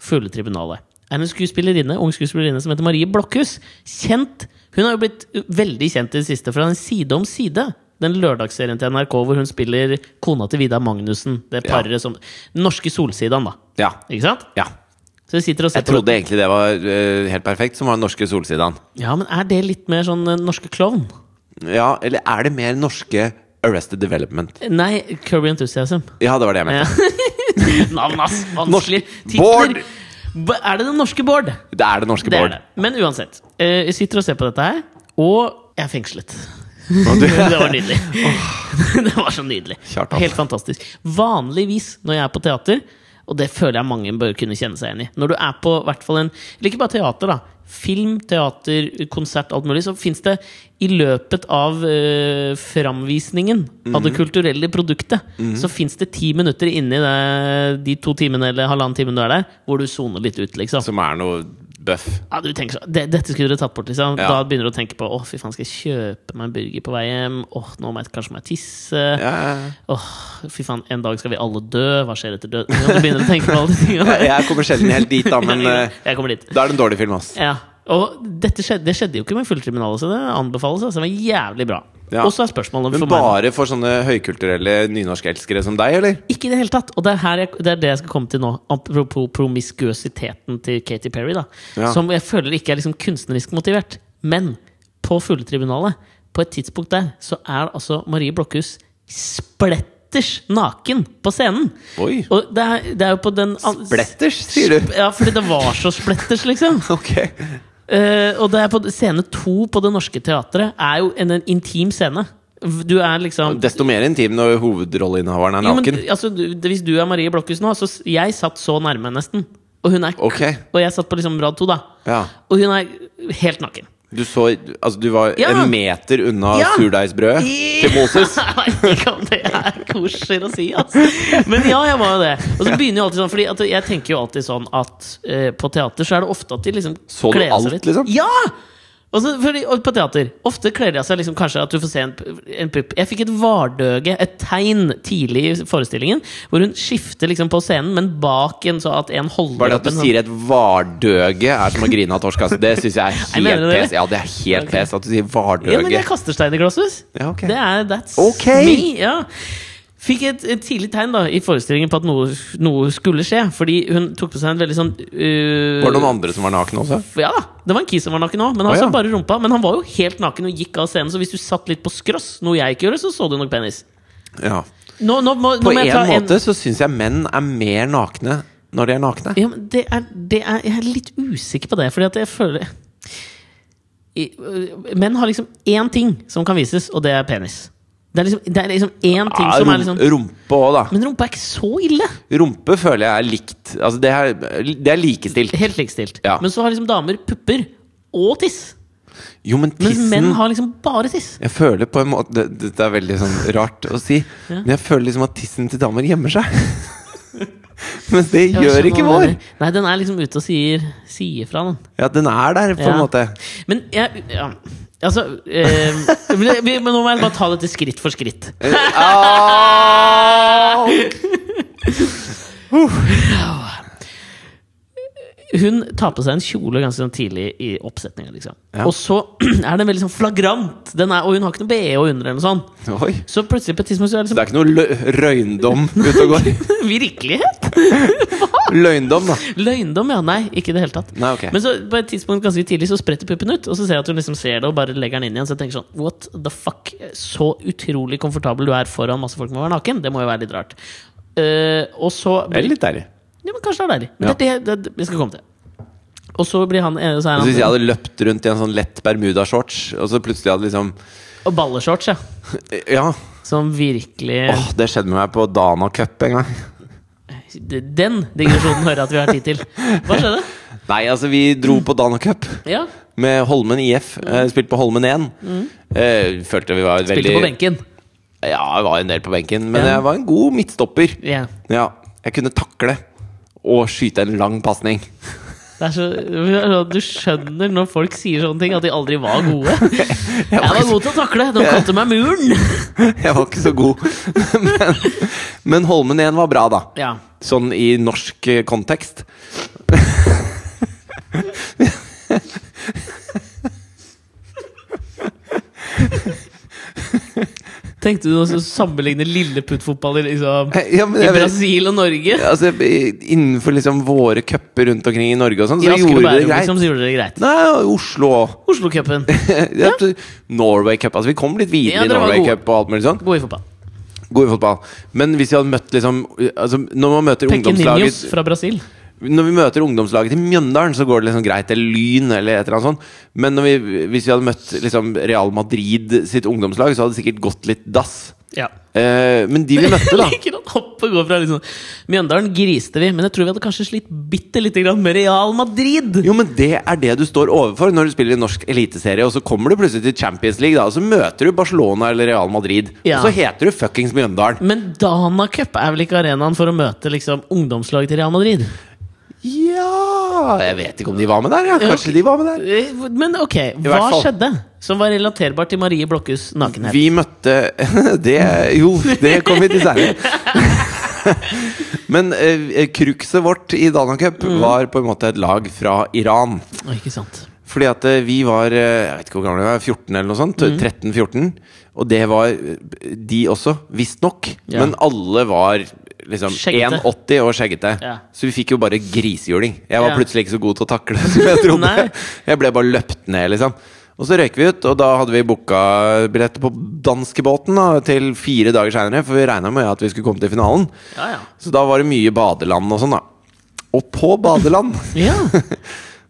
[SPEAKER 2] Fugletribunalet er en skuespillerinne, ung skuespillerinne som heter Marie Blokhus. Kjent! Hun har jo blitt uh, veldig kjent i det siste fra den Side om side. Den lørdagsserien til NRK hvor hun spiller kona til Vidar Magnussen. Det
[SPEAKER 1] Ja.
[SPEAKER 2] paret som Den norske Solsidan, da.
[SPEAKER 1] Ja.
[SPEAKER 2] Ikke sant?
[SPEAKER 1] ja.
[SPEAKER 2] Så vi sitter og ser
[SPEAKER 1] Jeg trodde egentlig det var eh, helt perfekt, som var den norske Solsidaen.
[SPEAKER 2] Ja, men er det litt mer sånn uh, norske klovn?
[SPEAKER 1] Ja, eller er det mer norske Arrested Development?
[SPEAKER 2] Nei, Curry Enthusiasm.
[SPEAKER 1] Ja, det var det jeg mente.
[SPEAKER 2] Ja. Navn, ass! Vanskelig.
[SPEAKER 1] Norsk- Bård!
[SPEAKER 2] Titler. B- Er det den norske Bård?
[SPEAKER 1] Det er det norske
[SPEAKER 2] Det er
[SPEAKER 1] Bård.
[SPEAKER 2] det. Men uansett. eh, Jeg sitter og ser på dette her, og jeg er fengslet.
[SPEAKER 1] Og
[SPEAKER 2] Det
[SPEAKER 1] du-
[SPEAKER 2] var nydelig. Det var så nydelig.
[SPEAKER 1] Kjartan.
[SPEAKER 2] Helt fantastisk. Vanligvis når jeg er på teater, og det føler jeg mange bør kunne kjenne seg igjen i Når du er på hvert fall en Eller ikke bare teater, da. Film, teater, konsert, alt mulig. Så fins det i løpet av eh, framvisningen av det kulturelle produktet, så fins det ti minutter inni det, de to timene eller halvannen timen du er der, hvor du soner litt ut, liksom.
[SPEAKER 1] Som er noe bøff.
[SPEAKER 2] Ja, du tenker så, det, Dette skulle dere tatt bort, liksom.
[SPEAKER 1] Ja.
[SPEAKER 2] Da begynner du å tenke på Å, fy faen, skal jeg kjøpe meg en burger på vei hjem? Åh, nå må jeg kanskje må jeg tisse.
[SPEAKER 1] Ja, ja,
[SPEAKER 2] Åh, fy faen, en dag skal vi alle dø. Hva skjer etter døden? Du begynner å tenke på alle de tingene.
[SPEAKER 1] ja. Jeg kommer sjelden helt dit, da, men eh,
[SPEAKER 2] Jeg kommer dit.
[SPEAKER 1] da er det en dårlig film, ass.
[SPEAKER 2] Ja. Og dette skjedde, det skjedde jo ikke med fulltriminalet, så det anbefales. Altså. Det var jævlig bra.
[SPEAKER 1] Ja.
[SPEAKER 2] Og så er spørsmålet
[SPEAKER 1] Men
[SPEAKER 2] for meg
[SPEAKER 1] bare for sånne høykulturelle nynorskelskere som deg, eller?
[SPEAKER 2] Ikke i det hele tatt! Og det er, her jeg, det er det jeg skal komme til nå. Apropos promiskuøsiteten til Katy Perry, da.
[SPEAKER 1] Ja.
[SPEAKER 2] Som jeg føler ikke er liksom kunstnerisk motivert. Men på fugletribunalet, på et tidspunkt der, så er altså Marie Blokhus splett splitters naken på scenen.
[SPEAKER 1] Oi.
[SPEAKER 2] Og det er, det er jo på den an-
[SPEAKER 1] Splatters, sier du?
[SPEAKER 2] Ja, fordi det var så splitters, liksom.
[SPEAKER 1] Ok.
[SPEAKER 2] Eh, og det er på scene to på Det Norske Teatret er jo en, en intim scene. Du er liksom
[SPEAKER 1] Desto mer intim når hovedrolleinnehaveren er
[SPEAKER 2] jo, men,
[SPEAKER 1] naken.
[SPEAKER 2] altså, du, Hvis du er Marie Blokhus nå så s- Jeg satt så nærme, nesten. Og hun er
[SPEAKER 1] Ok.
[SPEAKER 2] Og jeg satt på liksom rad to, da.
[SPEAKER 1] Ja.
[SPEAKER 2] Og hun er helt naken.
[SPEAKER 1] Du så Altså, du var
[SPEAKER 2] Ja.
[SPEAKER 1] en meter unna
[SPEAKER 2] Ja.
[SPEAKER 1] surdeigsbrødet til Moses.
[SPEAKER 2] Jeg vet ikke om det er kosher å si, altså. Men ja, jeg var jo det. Og så begynner jo alltid sånn, Fordi at jeg tenker jo alltid sånn at eh, på teater så er det ofte at de liksom
[SPEAKER 1] Så du
[SPEAKER 2] kler
[SPEAKER 1] alt,
[SPEAKER 2] seg litt.
[SPEAKER 1] liksom?
[SPEAKER 2] Ja! Og så, fordi, og på teater ofte kler de av seg liksom kanskje at du får se en, en pupp. Jeg fikk et vardøge, et tegn, tidlig i forestillingen, hvor hun skifter liksom på scenen, men bak en så at en sånn holder
[SPEAKER 1] Bare det at
[SPEAKER 2] opp
[SPEAKER 1] du
[SPEAKER 2] en
[SPEAKER 1] sier et vardøge er som å grine av torsk. Altså. Det syns jeg er
[SPEAKER 2] Jeg mener
[SPEAKER 1] helt
[SPEAKER 2] det.
[SPEAKER 1] pes. Ja, det er helt
[SPEAKER 2] Ok.
[SPEAKER 1] pes at du sier
[SPEAKER 2] Ja, men
[SPEAKER 1] vardøge.
[SPEAKER 2] jeg kaster stein i glasshus.
[SPEAKER 1] Ja, ok.
[SPEAKER 2] Det er That's
[SPEAKER 1] Ok.
[SPEAKER 2] me. Ja. Fikk et, et tidlig tegn da i forestillingen på at noe, noe skulle skje. Fordi hun tok på seg en veldig sånn øh,
[SPEAKER 1] Var det noen andre som var naken også?
[SPEAKER 2] Ja da, det var en kis som var naken òg, men
[SPEAKER 1] Å,
[SPEAKER 2] han
[SPEAKER 1] ja.
[SPEAKER 2] så bare rumpa. Men han var jo helt naken og gikk av scenen, så hvis du satt litt på skross, noe jeg ikke gjorde, så så du nok penis.
[SPEAKER 1] Ja.
[SPEAKER 2] Nå, nå, må,
[SPEAKER 1] På
[SPEAKER 2] nå må jeg ta
[SPEAKER 1] en
[SPEAKER 2] en
[SPEAKER 1] måte så syns jeg menn er mer nakne når de er nakne.
[SPEAKER 2] Ja, men det er, det er, jeg er litt usikker på det, fordi at jeg føler I- øh, Menn har liksom én ting som kan vises, og det er penis. Det er liksom, det er liksom én ting
[SPEAKER 1] Ja,
[SPEAKER 2] som er
[SPEAKER 1] rum-
[SPEAKER 2] liksom
[SPEAKER 1] Rumpe òg, da.
[SPEAKER 2] Men rumpa er ikke så ille!
[SPEAKER 1] Rumpe føler jeg er likt. Altså, det er, det er likestilt.
[SPEAKER 2] Helt likestilt.
[SPEAKER 1] Ja.
[SPEAKER 2] Men så har liksom damer pupper og tiss.
[SPEAKER 1] Jo, men
[SPEAKER 2] Mens
[SPEAKER 1] tissen
[SPEAKER 2] menn har liksom bare tiss.
[SPEAKER 1] Jeg føler på en måte det- Dette er veldig sånn rart å si, men jeg føler liksom at tissen til damer gjemmer seg. men det
[SPEAKER 2] Jeg
[SPEAKER 1] gjør
[SPEAKER 2] skjønner
[SPEAKER 1] ikke
[SPEAKER 2] hva du
[SPEAKER 1] vår!
[SPEAKER 2] mener. Nei, den er liksom ute og sier, sier fra, den.
[SPEAKER 1] Ja, den er der, på en
[SPEAKER 2] Ja.
[SPEAKER 1] måte.
[SPEAKER 2] Men jeg ja, Altså eh, men- Men nå må jeg bare ta dette skritt for skritt.
[SPEAKER 1] Au!
[SPEAKER 2] Hun tar på seg en kjole ganske sånn tidlig i oppsetninga. Liksom.
[SPEAKER 1] Ja.
[SPEAKER 2] Og så er den veldig sånn flagrant, den er, og hun har ikke noe BH under. eller noe sånt
[SPEAKER 1] Oi.
[SPEAKER 2] Så plutselig på et tidspunkt så er det
[SPEAKER 1] Det er ikke noe lø røyndom ute og går.
[SPEAKER 2] liksom Virkelighet!
[SPEAKER 1] Løgndom, da.
[SPEAKER 2] Løgndom, ja. Nei, ikke i det hele tatt.
[SPEAKER 1] Nei, ok.
[SPEAKER 2] Men så på et tidspunkt ganske tidlig så spretter puppen ut, og så ser jeg at hun liksom ser det og bare legger den inn igjen. Så jeg tenker sånn What the fuck? Så utrolig komfortabel du er foran masse folk med å være naken. Det må jo være litt rart. Eh, og så
[SPEAKER 1] Det er litt deilig.
[SPEAKER 2] Ja, men kanskje det er deilig. Men det er det, det, vi skal komme til. Og så blir han eh, så er
[SPEAKER 1] Altså,
[SPEAKER 2] han,
[SPEAKER 1] hvis jeg hadde løpt rundt i en sånn lett bermudashorts, og så plutselig hadde liksom
[SPEAKER 2] Og balleshorts, ja.
[SPEAKER 1] Ja.
[SPEAKER 2] Som virkelig
[SPEAKER 1] Åh, det skjedde med meg på Dana Cup en gang.
[SPEAKER 2] Den digresjonen hører jeg at vi har tid til. Hva skjedde?
[SPEAKER 1] Nei, altså, vi dro på Dana Cup.
[SPEAKER 2] Ja,
[SPEAKER 1] Med Holmen IF. eh, Spilt på Holmen 1. Eh, følte vi var
[SPEAKER 2] Spilte
[SPEAKER 1] veldig
[SPEAKER 2] på benken.
[SPEAKER 1] Ja, jeg var en del på benken. Men
[SPEAKER 2] Ja.
[SPEAKER 1] jeg var en god midtstopper.
[SPEAKER 2] Ja.
[SPEAKER 1] Ja, Jeg kunne takle og skyte en lang pasning.
[SPEAKER 2] Det er så, du skjønner når folk sier sånne ting, at de aldri var gode. Jeg var god til å takle! De kalte meg Muren!
[SPEAKER 1] Jeg var ikke så god. Men, men Holmen 1 var bra, da.
[SPEAKER 2] Ja.
[SPEAKER 1] Sånn i norsk eh, kontekst.
[SPEAKER 2] Tenkte du å sammenligne lilleputtfotball i, liksom,
[SPEAKER 1] Ja, men
[SPEAKER 2] i
[SPEAKER 1] jeg vet,
[SPEAKER 2] Brasil og Norge?
[SPEAKER 1] altså, innenfor liksom våre cuper rundt omkring i Norge og sånn, så
[SPEAKER 2] Asker og
[SPEAKER 1] gjorde
[SPEAKER 2] Bærum,
[SPEAKER 1] det greit.
[SPEAKER 2] Liksom, så gjorde det greit.
[SPEAKER 1] Nei, Oslo òg.
[SPEAKER 2] Oslo-cupen.
[SPEAKER 1] Ja. Norway Cup. Altså, vi kom litt
[SPEAKER 2] Ja,
[SPEAKER 1] videre i
[SPEAKER 2] dere var
[SPEAKER 1] Norway
[SPEAKER 2] gode.
[SPEAKER 1] Cup og alt mulig sånn.
[SPEAKER 2] God i fotball.
[SPEAKER 1] God i fotball. Men hvis vi hadde møtt liksom altså, Når man møter
[SPEAKER 2] Pekke Ninjos
[SPEAKER 1] ungdomslaget
[SPEAKER 2] fra Brasil.
[SPEAKER 1] Når vi møter ungdomslaget til Mjøndalen, så går det liksom greit. Eller Lyn, eller et eller annet sånt. Men når vi, hvis vi hadde møtt liksom Real Madrid sitt ungdomslag, så hadde det sikkert gått litt dass.
[SPEAKER 2] Ja.
[SPEAKER 1] Eh, men de vi møtte,
[SPEAKER 2] Jeg
[SPEAKER 1] da
[SPEAKER 2] liker at hoppet går fra liksom Mjøndalen griste vi, men jeg tror vi hadde kanskje slitt bitte lite grann med Real Madrid.
[SPEAKER 1] Jo, men det er det du står overfor når du spiller i norsk eliteserie, og så kommer du plutselig til Champions League, da, og så møter du Barcelona eller Real Madrid.
[SPEAKER 2] Ja.
[SPEAKER 1] Og så heter du fuckings Mjøndalen.
[SPEAKER 2] Men Dana Cup er vel ikke arenaen for å møte liksom ungdomslaget til Real Madrid?
[SPEAKER 1] Ja Jeg vet ikke om de var med der, ja. Kanskje de var med der.
[SPEAKER 2] Eh, Men ok, hva
[SPEAKER 1] hvert fall.
[SPEAKER 2] skjedde som var relaterbart til Marie Blokhus nakenhet?
[SPEAKER 1] Vi møtte Det Jo, det kom vi til seinere. Men eh, cruxet vårt i Dana Cup var på en måte et lag fra Iran.
[SPEAKER 2] Å, ikke sant.
[SPEAKER 1] Fordi at eh, vi var eh, Jeg vet ikke hvor gamle vi var, 14 eller noe sånt?
[SPEAKER 2] Mhm.
[SPEAKER 1] 13-14. Og det var eh, de også, visstnok.
[SPEAKER 2] Ja.
[SPEAKER 1] Men alle var liksom
[SPEAKER 2] Skjeggete.
[SPEAKER 1] 1,80 og skjeggete.
[SPEAKER 2] Ja.
[SPEAKER 1] Så vi fikk jo bare grisehjuling. Jeg var
[SPEAKER 2] Ja.
[SPEAKER 1] plutselig ikke så god til å takle som jeg trodde.
[SPEAKER 2] Nei.
[SPEAKER 1] jeg ble bare løpt ned, liksom. Og så røyk vi ut, og da hadde vi booka billetter på danskebåten da, til fire dager seinere, for vi regna med at vi skulle komme til finalen.
[SPEAKER 2] Ja, ja.
[SPEAKER 1] Så da var det mye badeland og sånn, da. Og på badeland
[SPEAKER 2] ja.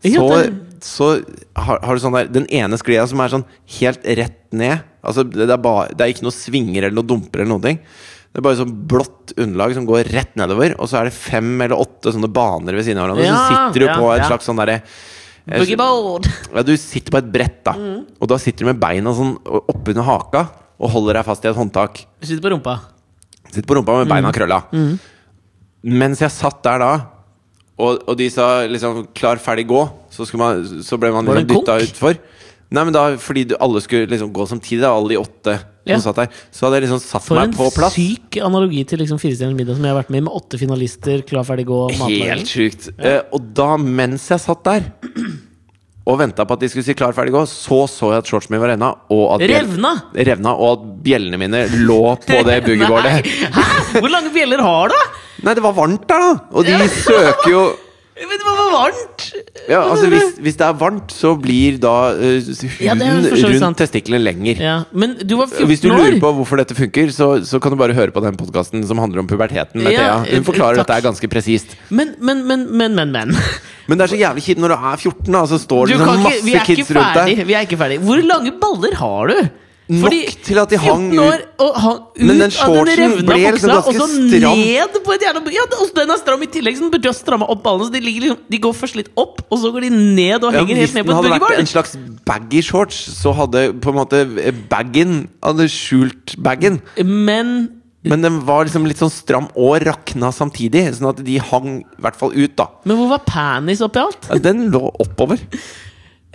[SPEAKER 2] ja
[SPEAKER 1] så,
[SPEAKER 2] det-
[SPEAKER 1] så har, har du sånn der Den ene sklia som er sånn helt rett ned. Altså det, det, er ba, det er ikke noe svinger eller noe dumper eller noen ting. Det er bare sånn blått underlag som går rett nedover, og så er det fem eller åtte sånne baner ved siden av hverandre.
[SPEAKER 2] Ja,
[SPEAKER 1] så sitter du
[SPEAKER 2] ja,
[SPEAKER 1] på et
[SPEAKER 2] ja.
[SPEAKER 1] slags sånn derre eh,
[SPEAKER 2] Boogieboard!
[SPEAKER 1] ja, du sitter på et brett, da.
[SPEAKER 2] Mm.
[SPEAKER 1] Og da sitter du med beina sånn oppunder haka og holder deg fast i et håndtak.
[SPEAKER 2] Du sitter på rumpa.
[SPEAKER 1] Sitter på
[SPEAKER 2] Mm.
[SPEAKER 1] rumpa med beina krølla. Mens jeg satt der da, og, og de sa liksom 'klar, ferdig, gå', så, skulle man, så ble man
[SPEAKER 2] Var
[SPEAKER 1] liksom
[SPEAKER 2] det en
[SPEAKER 1] dytta
[SPEAKER 2] konk?
[SPEAKER 1] utfor. Nei, men da, fordi du, alle skulle liksom gå samtidig, da, alle de åtte
[SPEAKER 2] Ja.
[SPEAKER 1] som satt der, så hadde jeg liksom satt
[SPEAKER 2] For
[SPEAKER 1] meg
[SPEAKER 2] en
[SPEAKER 1] på plass.
[SPEAKER 2] syk analogi til liksom Firestjerners middag som jeg har vært med i, med åtte finalister, klar, ferdig, gå, matlaging.
[SPEAKER 1] Helt sjukt. Eh, og da, mens jeg satt der og venta på at de skulle si 'klar, ferdig, gå', så så jeg at shortsen min var revna. Og at bjell-
[SPEAKER 2] Revna?
[SPEAKER 1] revna, og at bjellene mine lå på det boogieboardet.
[SPEAKER 2] Nei, Hæ? Hvor lange bjeller har du?
[SPEAKER 1] Nei, det var varmt der, da! Og de søker jo
[SPEAKER 2] Men det var varmt!
[SPEAKER 1] Ja, altså hvis, hvis det er varmt, så blir da eh, huden
[SPEAKER 2] Ja, det er for så vidt sant.
[SPEAKER 1] rundt testiklene lenger.
[SPEAKER 2] Ja, men du var 14 år!
[SPEAKER 1] Hvis du lurer på hvorfor dette funker, så, så kan du bare høre på den podkasten som handler om puberteten med
[SPEAKER 2] Ja, eh,
[SPEAKER 1] Thea. Hun forklarer
[SPEAKER 2] takk.
[SPEAKER 1] dette er ganske presist.
[SPEAKER 2] Men, men, men, men, men, men.
[SPEAKER 1] Men det er så jævlig kjipt når du er 14, da, så står
[SPEAKER 2] Du
[SPEAKER 1] det
[SPEAKER 2] kan
[SPEAKER 1] liksom
[SPEAKER 2] ikke, vi,
[SPEAKER 1] masse
[SPEAKER 2] er ikke
[SPEAKER 1] kids rundt
[SPEAKER 2] ferdig,
[SPEAKER 1] deg.
[SPEAKER 2] vi er ikke ferdig. Hvor lange baller har du?
[SPEAKER 1] Nok til at de hang
[SPEAKER 2] 14 år, og hang ut
[SPEAKER 1] Men den
[SPEAKER 2] av den
[SPEAKER 1] shortsen
[SPEAKER 2] revna
[SPEAKER 1] ble liksom
[SPEAKER 2] buksa,
[SPEAKER 1] ganske
[SPEAKER 2] og så
[SPEAKER 1] stram.
[SPEAKER 2] ned på et jævla bu- Ja, det- og den er stram i tillegg, så den burde jo ha stramma opp ballene. Så de, ligger liksom, de går først litt opp, og så går de ned og
[SPEAKER 1] Ja,
[SPEAKER 2] henger
[SPEAKER 1] hvis
[SPEAKER 2] helt ned
[SPEAKER 1] den
[SPEAKER 2] på et
[SPEAKER 1] hadde vært en
[SPEAKER 2] boogieboard.
[SPEAKER 1] slags baggy shorts, så hadde på en måte eh, baggen Hadde skjult baggen.
[SPEAKER 2] Men
[SPEAKER 1] Men den var liksom litt sånn stram og rakna samtidig, sånn at de hang i hvert fall ut, da.
[SPEAKER 2] Men hvor var panis oppi alt?
[SPEAKER 1] Ja, Den lå oppover.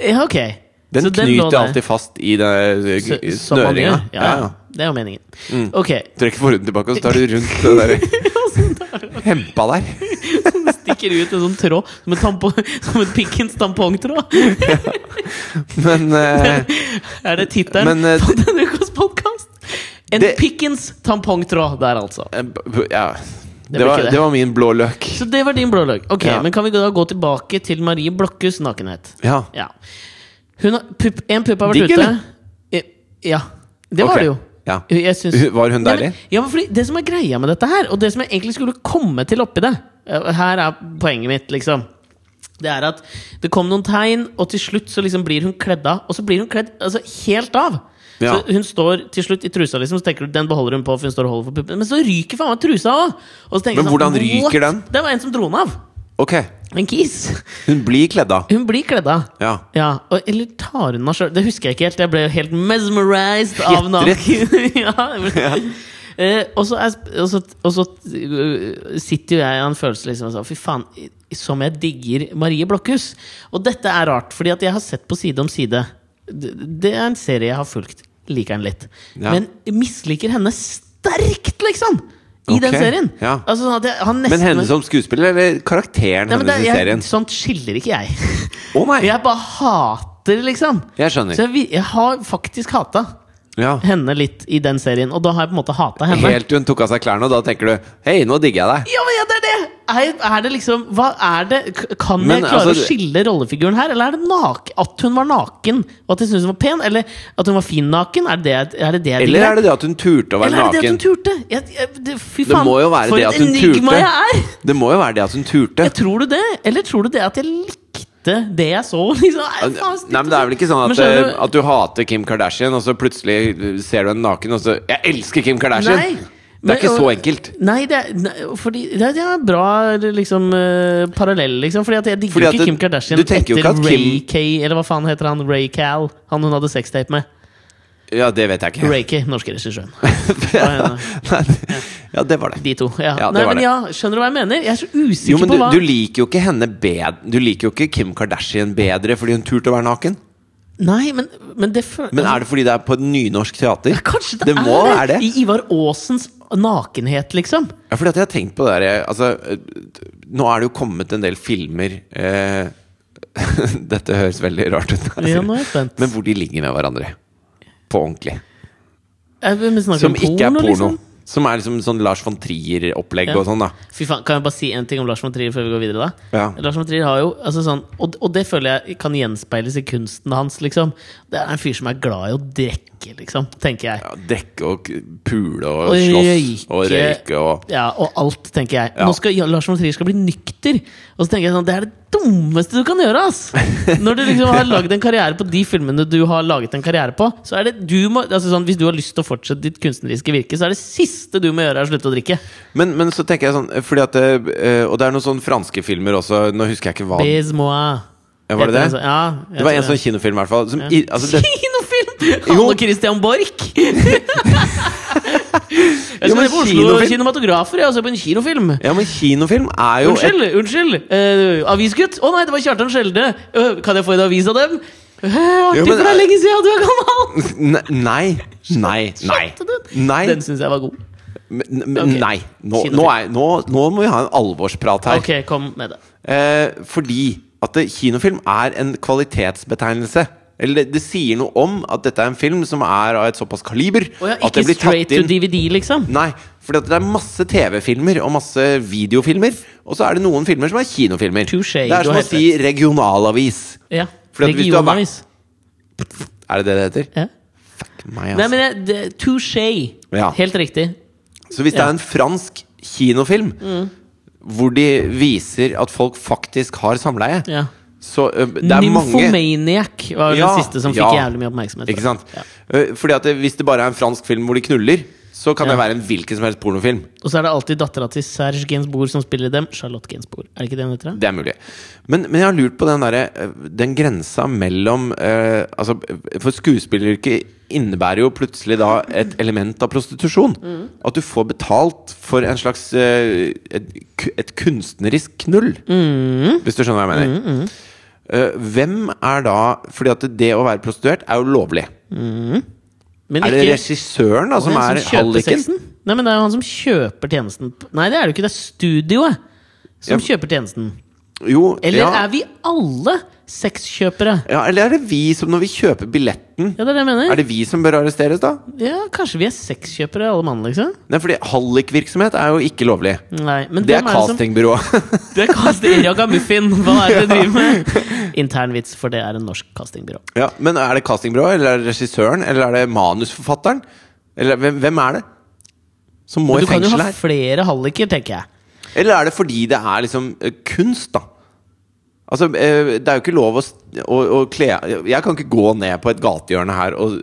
[SPEAKER 2] Ja, ok.
[SPEAKER 1] Den
[SPEAKER 2] Så lå
[SPEAKER 1] knyter
[SPEAKER 2] der.
[SPEAKER 1] alltid fast i eh,
[SPEAKER 2] Så-
[SPEAKER 1] den
[SPEAKER 2] som man
[SPEAKER 1] snøringa.
[SPEAKER 2] gjør. Ja, ja. Det er jo meningen.
[SPEAKER 1] Mm.
[SPEAKER 2] Ok.
[SPEAKER 1] Trekker forhuden tilbake, og så tar du rundt den der hempa der.
[SPEAKER 2] Stikker ut en sånn tråd som, en tampo- som en pikkens tampongtråd.
[SPEAKER 1] Men eh,
[SPEAKER 2] Er det tittelen
[SPEAKER 1] Men, eh,
[SPEAKER 2] på denne ukas podkast? En
[SPEAKER 1] det-
[SPEAKER 2] pikkens tampongtråd der, altså.
[SPEAKER 1] eh, Ja. Det
[SPEAKER 2] blir
[SPEAKER 1] var,
[SPEAKER 2] ikke det.
[SPEAKER 1] det var min blå løk.
[SPEAKER 2] Så det var din blå løk. Ok,
[SPEAKER 1] Ja.
[SPEAKER 2] Men kan vi da gå tilbake til Marie Blokhus nakenhet?
[SPEAKER 1] Ja.
[SPEAKER 2] Ja. Hun har, pupp, en pupp har vært
[SPEAKER 1] Digg,
[SPEAKER 2] ute.
[SPEAKER 1] eller?
[SPEAKER 2] Eh, Ja. Det var
[SPEAKER 1] Ok.
[SPEAKER 2] det jo.
[SPEAKER 1] Ja.
[SPEAKER 2] Jeg syns
[SPEAKER 1] Var hun
[SPEAKER 2] Nei, men-
[SPEAKER 1] deilig?
[SPEAKER 2] Ja, men fordi Det som er greia med dette her, og det som jeg egentlig skulle komme til oppi det eh, Her er poenget mitt, liksom. Det er at det kom noen tegn, og til slutt så liksom blir hun kledd av. Og så blir hun kledd altså, helt av.
[SPEAKER 1] Ja.
[SPEAKER 2] Så hun står til slutt i trusa, liksom, så tenker du den beholder hun på. For hun står og holder for puppen Men så ryker faen meg trusa òg!
[SPEAKER 1] Men hvordan ryker den?
[SPEAKER 2] sånn, Det var en som dro den av.
[SPEAKER 1] Ok.
[SPEAKER 2] En kis.
[SPEAKER 1] Hun blir kledd av.
[SPEAKER 2] Hun blir kledd av.
[SPEAKER 1] Ja.
[SPEAKER 2] Ja, og, eller tar hun meg sjøl? Det husker jeg ikke helt. Jeg ble jo helt mesmerized av naken.
[SPEAKER 1] Fjetret.
[SPEAKER 2] ja, jeg ble- Eh, og så, er sp- og så, og så øh, sitter jo jeg i en følelse liksom og sånn Fy faen, i- som jeg digger Marie Blokhus! Og dette er rart, fordi at jeg har sett på Side om side. Det, det er en serie jeg har fulgt. Liker den litt.
[SPEAKER 1] Ja.
[SPEAKER 2] Men misliker henne sterkt, liksom! I den
[SPEAKER 1] Ok,
[SPEAKER 2] serien.
[SPEAKER 1] ja.
[SPEAKER 2] Altså, sånn at jeg har nesten
[SPEAKER 1] Men henne som skuespiller, eller karakteren
[SPEAKER 2] Nei, men det,
[SPEAKER 1] hennes i
[SPEAKER 2] jeg,
[SPEAKER 1] serien?
[SPEAKER 2] Sånt skiller ikke jeg.
[SPEAKER 1] Å nei!
[SPEAKER 2] Jeg bare hater, liksom.
[SPEAKER 1] Jeg skjønner.
[SPEAKER 2] Så jeg, vi- jeg har faktisk hata
[SPEAKER 1] Ja.
[SPEAKER 2] henne litt i den serien, og da har jeg på en måte hata henne.
[SPEAKER 1] Helt til hun tok av seg klærne, og da tenker du 'hei, nå digger jeg deg'.
[SPEAKER 2] Ja, men ja, det er det! Er, er det liksom Hva er det K- Kan
[SPEAKER 1] Men,
[SPEAKER 2] jeg klare
[SPEAKER 1] altså,
[SPEAKER 2] å skille rollefiguren her, eller er det nak at hun var naken, og at jeg syns hun var pen, eller at hun var fin naken? Er det det, jeg- er det, det jeg
[SPEAKER 1] Eller er det det at hun turte å være
[SPEAKER 2] Eller er det det at hun
[SPEAKER 1] naken?
[SPEAKER 2] turte? Jeg, jeg, det, fy
[SPEAKER 1] Det
[SPEAKER 2] faen,
[SPEAKER 1] må jo være
[SPEAKER 2] for
[SPEAKER 1] det at
[SPEAKER 2] et
[SPEAKER 1] hun
[SPEAKER 2] enigma
[SPEAKER 1] turte.
[SPEAKER 2] jeg er!
[SPEAKER 1] Det må jo være det at hun turte.
[SPEAKER 2] Jeg tror du det? Eller tror du det at jeg likte det jeg så? Liksom? Nei, faen,
[SPEAKER 1] Nei, men Det er vel ikke sånn
[SPEAKER 2] Men
[SPEAKER 1] at,
[SPEAKER 2] skjønner
[SPEAKER 1] eh, at du hater Kim Kardashian, og så plutselig eh, ser du henne naken, og så 'Jeg elsker Kim Kardashian!'
[SPEAKER 2] Nei,
[SPEAKER 1] det
[SPEAKER 2] men-
[SPEAKER 1] er ikke så
[SPEAKER 2] og-
[SPEAKER 1] enkelt.
[SPEAKER 2] Nei, det er, nei fordi det er, det er en bra liksom, eh, parallell, liksom. Fordi at jeg digger
[SPEAKER 1] Fordi
[SPEAKER 2] jo
[SPEAKER 1] at
[SPEAKER 2] ikke
[SPEAKER 1] du-
[SPEAKER 2] Kim Kardashian
[SPEAKER 1] du tenker jo
[SPEAKER 2] etter
[SPEAKER 1] ikke at
[SPEAKER 2] Ray
[SPEAKER 1] Kim-
[SPEAKER 2] K, eller hva faen heter han? Ray Cal, han hun hadde sextape med.
[SPEAKER 1] Ja, det vet jeg ikke.
[SPEAKER 2] Ray K, norske regissøren. Hva er det?
[SPEAKER 1] Nei, det- ja, det var det.
[SPEAKER 2] De to. Ja.
[SPEAKER 1] Ja, det
[SPEAKER 2] nei,
[SPEAKER 1] var
[SPEAKER 2] men
[SPEAKER 1] det.
[SPEAKER 2] ja, skjønner du hva jeg mener? Jeg er så usikker
[SPEAKER 1] Jo, men
[SPEAKER 2] på
[SPEAKER 1] du,
[SPEAKER 2] hva
[SPEAKER 1] du liker jo ikke henne bedre Du liker jo ikke Kim Kardashian bedre fordi hun turte å være naken.
[SPEAKER 2] Nei, men, men det føles
[SPEAKER 1] Men er det fordi det er på et nynorsk teater?
[SPEAKER 2] Kanskje
[SPEAKER 1] det
[SPEAKER 2] det,
[SPEAKER 1] må
[SPEAKER 2] er
[SPEAKER 1] være det.
[SPEAKER 2] I Ivar Aasens nakenhet, liksom.
[SPEAKER 1] Ja, fordi at jeg har tenkt på det der jeg, altså, eh, Nå er det jo kommet en del filmer eh, Dette høres veldig rart ut
[SPEAKER 2] Ja, nå er jeg spent.
[SPEAKER 1] Men hvor de ligger med hverandre På ordentlig
[SPEAKER 2] Eh, Men snakker
[SPEAKER 1] Som
[SPEAKER 2] vi om
[SPEAKER 1] ikke er porno
[SPEAKER 2] Liksom?
[SPEAKER 1] Som er liksom sånn Lars von Trier-opplegg
[SPEAKER 2] Ja.
[SPEAKER 1] og sånn, da.
[SPEAKER 2] Fy faen, Kan jeg bare si en ting om Lars von Trier før vi går videre? da?
[SPEAKER 1] Ja.
[SPEAKER 2] Lars von Trier har jo, altså sånn, og, og det føler jeg kan gjenspeiles i kunsten hans. liksom Det er en fyr som er glad i å drikke, liksom, tenker jeg.
[SPEAKER 1] Ja, Dekke og k- pule og
[SPEAKER 2] Og
[SPEAKER 1] slåss og
[SPEAKER 2] røyke.
[SPEAKER 1] røyke og
[SPEAKER 2] Ja, Og alt, tenker jeg.
[SPEAKER 1] Ja.
[SPEAKER 2] Nå skal ja, Lars von Trier skal bli nykter! Og så tenker jeg sånn, Det er det dummeste du kan gjøre! ass Når du liksom har lagd en karriere på de filmene du har laget en karriere på, så er det du må, altså sånn, hvis du har lyst til å fortsette ditt kunstneriske virke, så er det siste du må gjøre, er å slutte å drikke.
[SPEAKER 1] Men, men så tenker jeg sånn fordi at det, eh, Og det er noen sånne franske filmer også. Nå husker jeg ikke hva det,
[SPEAKER 2] Bez moi.
[SPEAKER 1] Ja, var det det?
[SPEAKER 2] Heter den så- Ja, jeg
[SPEAKER 1] det var
[SPEAKER 2] tror
[SPEAKER 1] en sånn kinofilm, i hvert fall. Som, i, altså, det,
[SPEAKER 2] Kinofilm!
[SPEAKER 1] Jo.
[SPEAKER 2] Han og Christian Borch! Jeg
[SPEAKER 1] Jo,
[SPEAKER 2] skal
[SPEAKER 1] men
[SPEAKER 2] se på Oslo
[SPEAKER 1] kinofilm-
[SPEAKER 2] Kinomatografer jeg, og se på en kinofilm.
[SPEAKER 1] ja, men kinofilm er jo et,
[SPEAKER 2] Unnskyld! unnskyld Eh, Avisgutt? Å nei, det var Kjartan Skjelde! Eh, kan jeg få en avis av dem? Eh, artig,
[SPEAKER 1] Jo, men-
[SPEAKER 2] for det er lenge siden du er gammel!
[SPEAKER 1] Ne- Nei. Nei. Nei.
[SPEAKER 2] Skjønte du?
[SPEAKER 1] Nei.
[SPEAKER 2] Den syns jeg var god.
[SPEAKER 1] Men- men
[SPEAKER 2] Ok.
[SPEAKER 1] nei. Nå, nå,
[SPEAKER 2] Kinofilm.
[SPEAKER 1] er, nå, nå må vi ha en alvorsprat her.
[SPEAKER 2] Ok, kom med det.
[SPEAKER 1] Eh, fordi at det, kinofilm er en kvalitetsbetegnelse. Eller det, det sier noe om at dette er en film som er av et såpass kaliber
[SPEAKER 2] Å ja,
[SPEAKER 1] at det
[SPEAKER 2] ikke
[SPEAKER 1] blir
[SPEAKER 2] straight
[SPEAKER 1] tatt
[SPEAKER 2] to
[SPEAKER 1] inn
[SPEAKER 2] DVD, liksom?
[SPEAKER 1] Nei, fordi at det er masse TV-filmer og masse videofilmer. Og så er det noen filmer som er kinofilmer.
[SPEAKER 2] Touché,
[SPEAKER 1] det er
[SPEAKER 2] du
[SPEAKER 1] som
[SPEAKER 2] har
[SPEAKER 1] å si regionalavis.
[SPEAKER 2] Ja.
[SPEAKER 1] Fordi at hvis du har vært-
[SPEAKER 2] Regionavis.
[SPEAKER 1] Er det det det heter?
[SPEAKER 2] Ja.
[SPEAKER 1] Nei,
[SPEAKER 2] Nei,
[SPEAKER 1] altså.
[SPEAKER 2] men det- det- touché.
[SPEAKER 1] Ja.
[SPEAKER 2] Helt riktig.
[SPEAKER 1] Så hvis det
[SPEAKER 2] Ja.
[SPEAKER 1] er
[SPEAKER 2] Mm.
[SPEAKER 1] en fransk kinofilm hvor de viser at folk faktisk har samleie,
[SPEAKER 2] Ja.
[SPEAKER 1] så ø, det er mange
[SPEAKER 2] Nymphomaniac var vel
[SPEAKER 1] Ja,
[SPEAKER 2] den siste som fikk
[SPEAKER 1] ja.
[SPEAKER 2] jævlig mye oppmerksomhet.
[SPEAKER 1] Ikke sant?
[SPEAKER 2] Ja.
[SPEAKER 1] Eh, Fordi at det, Hvis det bare er en fransk film hvor de knuller, så kan det
[SPEAKER 2] Ja.
[SPEAKER 1] være en hvilken som helst pornofilm.
[SPEAKER 2] Og så er det alltid dattera til Serge Gainsbourg som spiller dem. Charlotte Gainsbourg. Er det ikke det hun heter? da?
[SPEAKER 1] Det er mulig. Men, men jeg har lurt på den, derre, eh, den grensa mellom eh, altså, For skuespilleryrket innebærer jo plutselig da et element av prostitusjon.
[SPEAKER 2] Mm.
[SPEAKER 1] At du får betalt for en slags eh, et, ku- et kunstnerisk knull.
[SPEAKER 2] Mm.
[SPEAKER 1] Hvis du skjønner hva jeg mener. Eh, hvem er da Fordi at det å være prostituert er jo lovlig.
[SPEAKER 2] Men
[SPEAKER 1] Er det regissøren da som er halliken?
[SPEAKER 2] Nei, men det er jo han som kjøper tjenesten. Nei, det er det jo ikke. Det er studioet som kjøper tjenesten.
[SPEAKER 1] Jo,
[SPEAKER 2] Eller
[SPEAKER 1] ja.
[SPEAKER 2] er vi alle sexkjøpere?
[SPEAKER 1] Ja, eller er det vi som når vi kjøper billetten
[SPEAKER 2] Ja, det er det jeg
[SPEAKER 1] Er
[SPEAKER 2] mener.
[SPEAKER 1] det vi som bør arresteres, da?
[SPEAKER 2] Ja, Kanskje vi er sexkjøpere, alle mann, liksom?
[SPEAKER 1] Nei, fordi hallikvirksomhet er jo ikke lovlig.
[SPEAKER 2] Nei, men
[SPEAKER 1] Det er
[SPEAKER 2] hvem det som-
[SPEAKER 1] castingbyrå.
[SPEAKER 2] Det er casting Raga Muffin. Hva er det du driver med? Internvits, for det er en norsk castingbyrå.
[SPEAKER 1] ja, men er det castingbyrå, eller er det regissøren, eller er det manusforfatteren? Eller hvem, hvem er det som må
[SPEAKER 2] Men
[SPEAKER 1] i
[SPEAKER 2] du kan jo
[SPEAKER 1] fengsel
[SPEAKER 2] ha
[SPEAKER 1] her?
[SPEAKER 2] flere halliker, tenker jeg.
[SPEAKER 1] Eller er det fordi det er liksom eh, kunst, da? Altså, eh, Det er jo ikke lov å, s- å, å kle Jeg kan ikke gå ned på et gatehjørne her og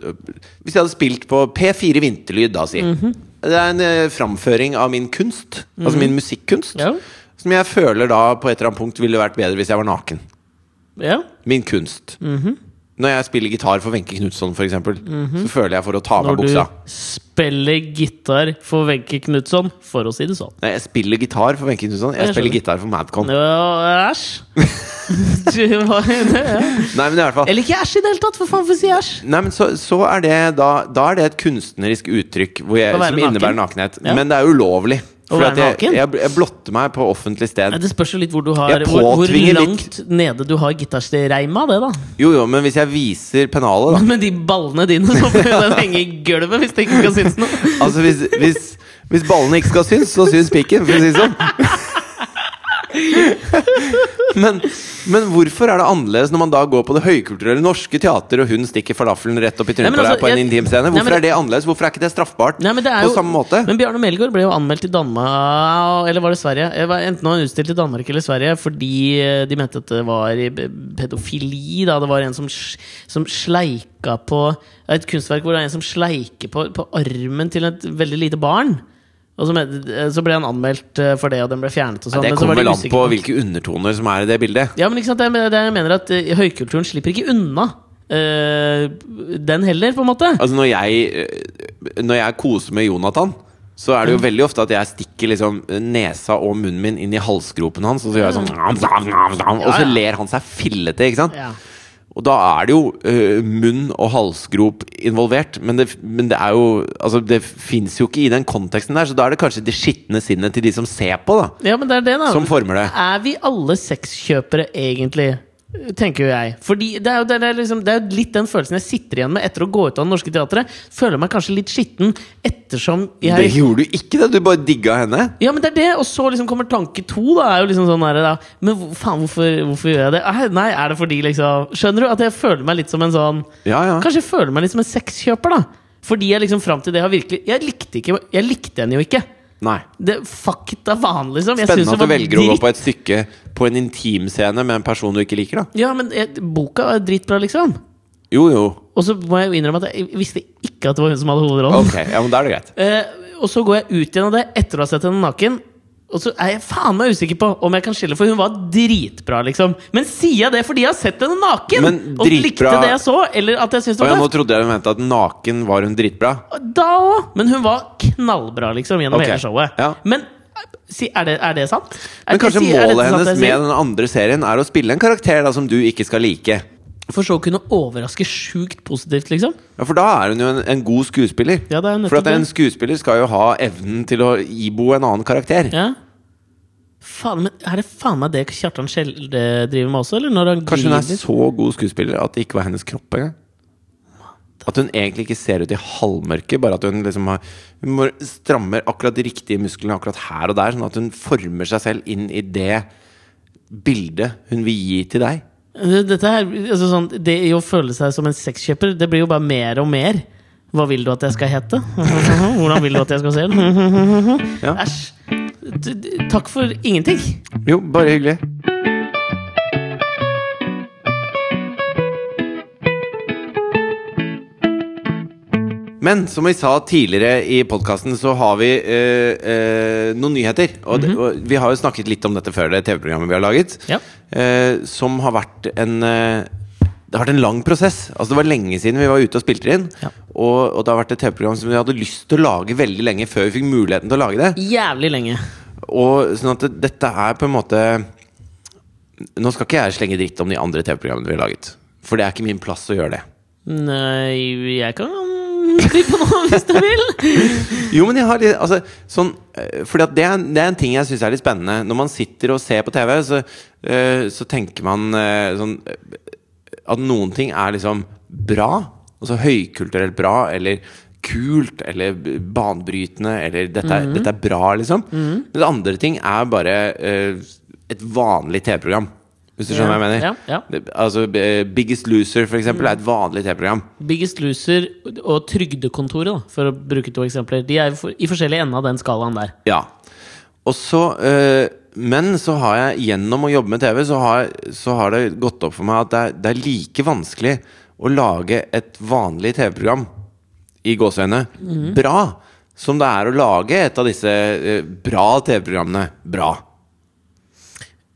[SPEAKER 1] Hvis jeg hadde spilt på P4 Vinterlyd, da, si.
[SPEAKER 2] Mhm.
[SPEAKER 1] Det er en eh, framføring av min kunst, altså min musikkunst,
[SPEAKER 2] Ja.
[SPEAKER 1] som jeg føler da på et eller annet punkt ville vært bedre hvis jeg var naken.
[SPEAKER 2] Ja.
[SPEAKER 1] Min kunst.
[SPEAKER 2] Mhm.
[SPEAKER 1] Når jeg spiller gitar for Wenche Knutson, f.eks., eksempel så føler jeg for å ta av meg
[SPEAKER 2] Når du
[SPEAKER 1] buksa.
[SPEAKER 2] spiller gitar for Wenche Knutson, for å si det sånn.
[SPEAKER 1] Nei, jeg spiller gitar for Wenche Knutson, jeg,
[SPEAKER 2] Jeg
[SPEAKER 1] spiller
[SPEAKER 2] skjønner.
[SPEAKER 1] gitar for Madcon.
[SPEAKER 2] Ja, Æsj! Du var- ja.
[SPEAKER 1] Nei, men i hvert fall
[SPEAKER 2] Eller ikke æsj i det hele tatt! For faen, hvorfor si æsj?
[SPEAKER 1] Nei, men så, så er det da, da er det et kunstnerisk uttrykk hvor jeg,
[SPEAKER 2] Å være
[SPEAKER 1] som innebærer nakenhet.
[SPEAKER 2] Ja.
[SPEAKER 1] Men det er ulovlig. For
[SPEAKER 2] være
[SPEAKER 1] at jeg,
[SPEAKER 2] naken?
[SPEAKER 1] jeg, jeg blotter meg på offentlig
[SPEAKER 2] Nei,
[SPEAKER 1] sted.
[SPEAKER 2] Det spørs jo litt hvor du har
[SPEAKER 1] Jeg
[SPEAKER 2] hvor, hvor
[SPEAKER 1] påtvinger
[SPEAKER 2] langt nede du har gitarstreima, det, da.
[SPEAKER 1] Jo, jo, men hvis jeg viser pennalet, da
[SPEAKER 2] Men de ballene dine, så får jo den henge i gulvet hvis det ikke skal synes noe.
[SPEAKER 1] Altså hvis, hvis, hvis ballene ikke skal synes, så syns piken, for å si det sånn. Men, men hvorfor er det annerledes når man da går på det høykulturelle norske teater, og hun stikker falafelen rett opp i
[SPEAKER 2] Nei,
[SPEAKER 1] trynet
[SPEAKER 2] men
[SPEAKER 1] på
[SPEAKER 2] altså,
[SPEAKER 1] deg på en
[SPEAKER 2] jeg-
[SPEAKER 1] intimscene?
[SPEAKER 2] Nei, men
[SPEAKER 1] Hvorfor er
[SPEAKER 2] det-
[SPEAKER 1] det annerledes? Hvorfor er ikke det straffbart
[SPEAKER 2] Nei, men det er
[SPEAKER 1] på
[SPEAKER 2] jo,
[SPEAKER 1] samme måte?
[SPEAKER 2] Men Bjarne Melgaard ble jo anmeldt i Danmark ah, Eller var det Sverige? Jeg var- Enten var han utstilt i Danmark eller Sverige fordi eh, de mente at det var i b- pedofili. Da. Det var en som, sj- som sleika på Et kunstverk hvor det er en som sleiker på, på armen til et veldig lite barn. Og så, men- eh, så ble han anmeldt eh, for det, og den ble fjernet. Og sånn,
[SPEAKER 1] Det
[SPEAKER 2] men så var
[SPEAKER 1] kommer
[SPEAKER 2] de
[SPEAKER 1] vel an
[SPEAKER 2] usikre
[SPEAKER 1] på hvilke undertoner som er i det bildet.
[SPEAKER 2] ja, men ikke sant, det er det jeg mener at eh, høykulturen slipper ikke unna eh, den heller, på en måte.
[SPEAKER 1] Altså når jeg, eh, når jeg koser med Jonathan så er det
[SPEAKER 2] Mm.
[SPEAKER 1] jo veldig ofte at jeg stikker liksom nesa og munnen min inn i halsgropen hans, og så gjør jeg sånn nam, nam, nam, nam, Og
[SPEAKER 2] Ja,
[SPEAKER 1] så
[SPEAKER 2] ja.
[SPEAKER 1] ler han seg fillete, ikke sant?
[SPEAKER 2] Ja.
[SPEAKER 1] Og da er det jo eh, munn og halsgrop involvert, men det, men det er jo Altså, det fins jo ikke i den konteksten der, så da er det kanskje det skitne sinnet til de som ser på, da,
[SPEAKER 2] Ja, men det er det, da.
[SPEAKER 1] som former det.
[SPEAKER 2] Er vi alle sexkjøpere, egentlig? tenker jo jeg. Fordi det er jo, det er liksom, det er jo litt den følelsen jeg sitter igjen med etter å gå ut av Det Norske Teatret. Føler meg kanskje litt skitten ettersom
[SPEAKER 1] Det
[SPEAKER 2] jeg
[SPEAKER 1] gjorde du ikke, det. Du bare digga henne.
[SPEAKER 2] ja, men det er det, Og så liksom kommer tanke to. da er jo liksom sånn her, da. Men hvor- faen, hvorfor, hvorfor gjør jeg det? Eh, Nei, er det fordi liksom Skjønner du? At jeg føler meg litt som en sånn
[SPEAKER 1] Ja, ja.
[SPEAKER 2] Kanskje jeg føler meg litt som en sexkjøper, da. Fordi jeg liksom fram til det har virkelig Jeg likte, ikke, jeg likte henne jo ikke.
[SPEAKER 1] Nei.
[SPEAKER 2] Det, fuck it, da faen, liksom. Jeg synes
[SPEAKER 1] Spennende at
[SPEAKER 2] det
[SPEAKER 1] du
[SPEAKER 2] var
[SPEAKER 1] velger å gå
[SPEAKER 2] dritt.
[SPEAKER 1] på et stykke på en intimscene med en person du ikke liker, da.
[SPEAKER 2] Ja, men eh, boka er dritbra, liksom.
[SPEAKER 1] Jo, jo.
[SPEAKER 2] Og så må jeg jo innrømme at jeg visste ikke at det var hun som hadde hovedrollen.
[SPEAKER 1] Ok, ja, men da er det greit.
[SPEAKER 2] Eh, og så går jeg ut igjen av det etter å ha sett henne naken. Og så er jeg faen meg usikker på om jeg kan skille, for hun var dritbra, liksom. Men sier jeg det fordi jeg har sett henne naken?
[SPEAKER 1] Men
[SPEAKER 2] og likte
[SPEAKER 1] dritbra-
[SPEAKER 2] det jeg så? Eller at jeg syntes
[SPEAKER 1] Og
[SPEAKER 2] det
[SPEAKER 1] ja,
[SPEAKER 2] var
[SPEAKER 1] nå
[SPEAKER 2] tøft?
[SPEAKER 1] trodde jeg hun mente at naken var hun dritbra.
[SPEAKER 2] Da òg! Men hun var knallbra, liksom, gjennom
[SPEAKER 1] Ok,
[SPEAKER 2] hele showet.
[SPEAKER 1] ja.
[SPEAKER 2] Men eh, si, er, det, er det sant? Er
[SPEAKER 1] Men
[SPEAKER 2] det-
[SPEAKER 1] kanskje
[SPEAKER 2] si- er
[SPEAKER 1] målet
[SPEAKER 2] dette sant
[SPEAKER 1] hennes
[SPEAKER 2] det jeg
[SPEAKER 1] med
[SPEAKER 2] sier?
[SPEAKER 1] den andre serien er å spille en karakter da som du ikke skal like.
[SPEAKER 2] For så å kunne overraske sjukt positivt, liksom?
[SPEAKER 1] Ja, For da er hun jo en, en god skuespiller.
[SPEAKER 2] Ja, det er jo nettopp
[SPEAKER 1] for at en
[SPEAKER 2] det.
[SPEAKER 1] skuespiller skal jo ha evnen til å ibo en annen karakter.
[SPEAKER 2] Ja Faen, men Er det faen meg det Kjartan Skjelde driver med også? Eller når han
[SPEAKER 1] Kanskje hun er
[SPEAKER 2] griner?
[SPEAKER 1] så god skuespiller at det ikke var hennes kropp engang. At hun egentlig ikke ser ut i halvmørket, bare at hun liksom har Hun må- strammer akkurat de riktige musklene akkurat her og der, sånn at hun former seg selv inn i det bildet hun vil gi til deg.
[SPEAKER 2] Dette her, altså sånn, det å føle seg som en sexkjøper, det blir jo bare mer og mer. Hva vil du at jeg skal hete? Hvordan vil du at jeg skal se ut?
[SPEAKER 1] Ja.
[SPEAKER 2] Æsj. D- d- Takk for ingenting.
[SPEAKER 1] Jo, bare hyggelig. Men som vi sa tidligere i podkasten, så har vi eh, eh, noen nyheter. Og, det- og vi har jo snakket litt om dette før, det TV-programmet vi har laget.
[SPEAKER 2] Ja.
[SPEAKER 1] eh, som har vært en eh, Det har vært en lang prosess. Altså Det var lenge siden vi var ute og spilte det inn.
[SPEAKER 2] Ja.
[SPEAKER 1] Og, og det har vært et TV-program som vi hadde lyst til å lage veldig lenge før vi fikk muligheten til å lage det.
[SPEAKER 2] Jævlig lenge.
[SPEAKER 1] Og sånn at det- dette er på en måte Nå skal ikke jeg slenge dritt om de andre TV-programmene vi har laget. For det er ikke min plass å gjøre det.
[SPEAKER 2] Nei, jeg kan by på noe hvis du vil.
[SPEAKER 1] Jo, men jeg har litt altså, sånn, eh, Fordi at det er, det er en ting jeg syns er litt spennende. Når man sitter og ser på TV, så, eh, så tenker man eh, sånn eh, At noen ting er liksom bra. Altså høykulturelt bra, eller kult, eller b- banebrytende, eller dette
[SPEAKER 2] Mhm.
[SPEAKER 1] er, dette er bra, liksom. Men andre ting er bare eh, et vanlig TV-program. Hvis du skjønner hva jeg mener?
[SPEAKER 2] Ja, ja.
[SPEAKER 1] Det, altså, eh, Biggest Loser for eksempel, er et vanlig TV-program.
[SPEAKER 2] Biggest Loser og Trygdekontoret, da, for å bruke to eksempler, de er i for- i forskjellig ende av den skalaen der.
[SPEAKER 1] Ja. Og så eh, Men så har jeg gjennom å jobbe med TV, så har, så har det gått opp for meg at det er, det er like vanskelig å lage et vanlig TV-program i gåseøyne bra som det er å lage et av disse eh, bra TV-programmene bra.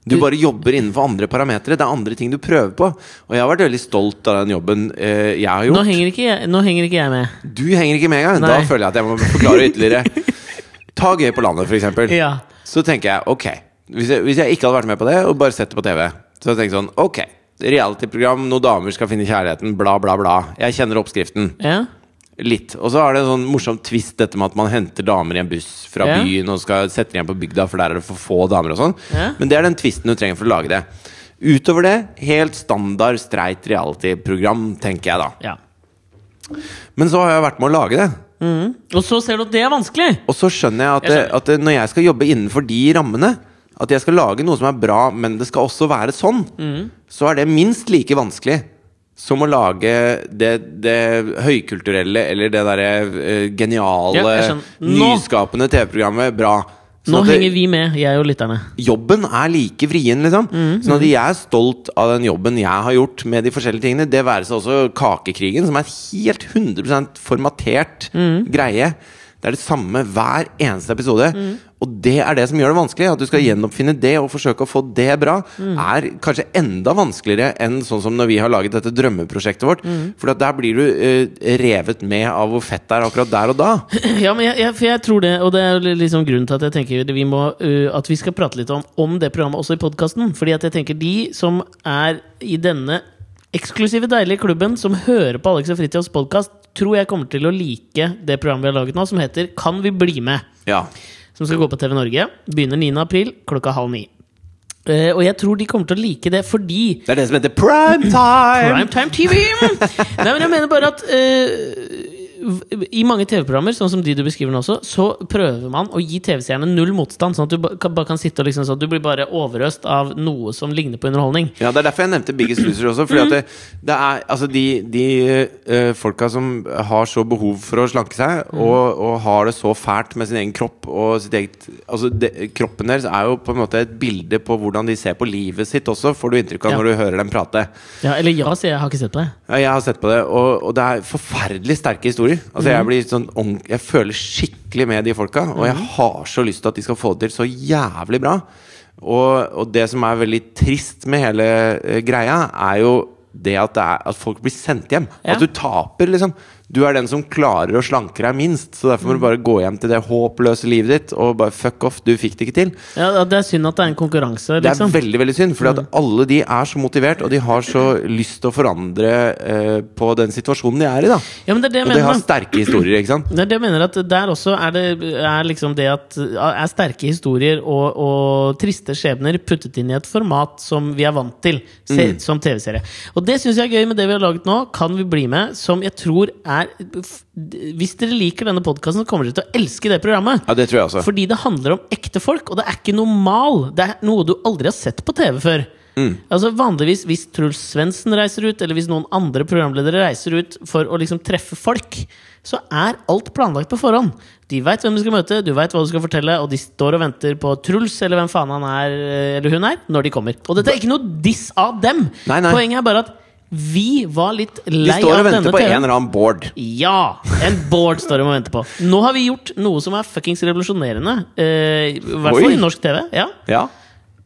[SPEAKER 1] Du bare jobber innenfor andre parametere. Det er andre ting du prøver på. Og jeg har vært veldig stolt av den jobben eh, jeg har gjort.
[SPEAKER 2] Nå henger ikke jeg, nå henger ikke jeg med.
[SPEAKER 1] Du henger ikke med engang. Da
[SPEAKER 2] Nei.
[SPEAKER 1] føler jeg at jeg må forklare ytterligere. Ta Gøy på landet, for eksempel.
[SPEAKER 2] Ja.
[SPEAKER 1] Så tenker jeg ok. Hvis jeg, hvis jeg ikke hadde vært med på det, og bare sett det på TV, så hadde jeg tenkt sånn ok. Reality-program, noen damer skal finne kjærligheten, bla, bla, bla. Jeg kjenner oppskriften.
[SPEAKER 2] Ja.
[SPEAKER 1] Litt. Og så er det en sånn morsom twist, dette med at man henter damer i en buss fra
[SPEAKER 2] Ja.
[SPEAKER 1] byen og skal sette dem igjen på bygda, for der er det for få damer og sånn.
[SPEAKER 2] Ja.
[SPEAKER 1] Men det er den twisten du trenger for å lage det. Utover det, helt standard streit reality-program, tenker jeg da.
[SPEAKER 2] ja.
[SPEAKER 1] Men så har jeg vært med å lage det.
[SPEAKER 2] Mhm. Og så ser du at det er vanskelig!
[SPEAKER 1] Og så skjønner jeg at,
[SPEAKER 2] Jeg skjønner.
[SPEAKER 1] at når jeg skal jobbe innenfor de rammene, at jeg skal lage noe som er bra, men det skal også være sånn,
[SPEAKER 2] Mhm.
[SPEAKER 1] så er det minst like vanskelig som å lage det, det høykulturelle eller det derre eh,
[SPEAKER 2] Ja,
[SPEAKER 1] geniale,
[SPEAKER 2] jeg skjønner. Nå-
[SPEAKER 1] nyskapende TV-programmet bra.
[SPEAKER 2] Nå
[SPEAKER 1] at det-
[SPEAKER 2] henger vi med, jeg og lytterne.
[SPEAKER 1] jobben er like vrien, liksom. Sånn at jeg er stolt av den jobben jeg har gjort med de forskjellige tingene. Det være seg også Kakekrigen, som er et helt 100 formatert greie. Det er det samme hver eneste episode. Og det er det som gjør det vanskelig. At du skal gjenoppfinne det og forsøke å få det bra, er kanskje enda vanskeligere enn sånn som når vi har laget dette drømmeprosjektet vårt. For at der blir du eh, revet med av hvor fett det er akkurat der og da.
[SPEAKER 2] Ja, men jeg, jeg, for jeg tror det, og det er jo liksom grunnen til at jeg tenker vi må, ø, at vi skal prate litt om, om det programmet også i podkasten. Fordi at jeg tenker de som er i denne eksklusive, deilige klubben, som hører på Alex og Fritjofs podkast, tror jeg kommer til å like det programmet vi har laget nå, som heter Kan vi bli med?
[SPEAKER 1] Ja.
[SPEAKER 2] Som skal gå på TV Norge. Begynner 9. april klokka halv ni. Eh, og jeg tror de kommer til å like det fordi
[SPEAKER 1] Det er det som heter prime time!
[SPEAKER 2] Primetime TV! Nei, men jeg mener bare at eh, v- i mange TV-programmer, sånn som de du beskriver nå også, så prøver man å gi TV-seerne null motstand. Sånn at du ba- kan- bare kan sitte og liksom sånn at du blir bare overøst av noe som ligner på underholdning.
[SPEAKER 1] Ja, Det er derfor jeg nevnte Biggest Loser også. Fordi at det, det er, altså de, de eh, folka som har så behov for å slanke seg, og, og har det så fælt med sin egen kropp og sitt eget Altså det, Kroppen deres er jo på en måte et bilde på hvordan de ser på livet sitt også, får du inntrykk av
[SPEAKER 2] Ja.
[SPEAKER 1] når du hører dem prate.
[SPEAKER 2] Ja, eller ja, sier jeg. Jeg har ikke sett på det.
[SPEAKER 1] Ja, jeg har sett på det, og, og det er forferdelig sterke historier. Altså jeg, blir sånn, ordent- jeg føler skikkelig med de folka, og jeg har så lyst til at de skal få det til så jævlig bra. Og, og det som er veldig trist med hele eh, greia, er jo det at, det er, at folk blir sendt hjem.
[SPEAKER 2] Ja.
[SPEAKER 1] At du taper, liksom. Du er den som klarer å slanke deg minst, så derfor må du bare gå hjem til det håpløse livet ditt og bare fuck off, du fikk det ikke til.
[SPEAKER 2] Ja, det er synd at det er en konkurranse,
[SPEAKER 1] Det er
[SPEAKER 2] liksom.
[SPEAKER 1] veldig veldig synd, for alle de er så motivert, og de har så lyst til å forandre eh, på den situasjonen de er i. da
[SPEAKER 2] Ja, men det er det jeg
[SPEAKER 1] Og de
[SPEAKER 2] mener.
[SPEAKER 1] har
[SPEAKER 2] da.
[SPEAKER 1] sterke historier, ikke sant?
[SPEAKER 2] Det er det jeg mener at der også er det er liksom det at er sterke historier og, og triste skjebner puttet inn i et format som vi er vant til se, som TV-serie. Og det syns jeg er gøy med det vi har laget nå. Kan vi bli med? Som jeg tror er Hvis dere liker denne podkasten, kommer dere til å elske det programmet.
[SPEAKER 1] Ja, det tror jeg også.
[SPEAKER 2] Fordi det handler om ekte folk, og det er ikke noe mal. Det er noe du aldri har sett på TV før.
[SPEAKER 1] Mm.
[SPEAKER 2] Altså Vanligvis hvis Truls Svendsen reiser ut, eller hvis noen andre programledere reiser ut for å liksom treffe folk, så er alt planlagt på forhånd. De veit hvem du skal møte, du veit hva du skal fortelle, og de står og venter på Truls eller hvem faen han er eller hun er, når de kommer. Og dette er ikke noe diss av dem!
[SPEAKER 1] Nei, nei.
[SPEAKER 2] Poenget er bare at vi var litt
[SPEAKER 1] De
[SPEAKER 2] lei
[SPEAKER 1] står
[SPEAKER 2] av
[SPEAKER 1] og
[SPEAKER 2] denne
[SPEAKER 1] venter på en
[SPEAKER 2] TV-en.
[SPEAKER 1] eller annen Bård.
[SPEAKER 2] Ja! En Bård står de og venter på. Nå har vi gjort noe som er fuckings revolusjonerende. eh, I hvert fall
[SPEAKER 1] Oi.
[SPEAKER 2] i norsk TV. Ja.
[SPEAKER 1] Ja.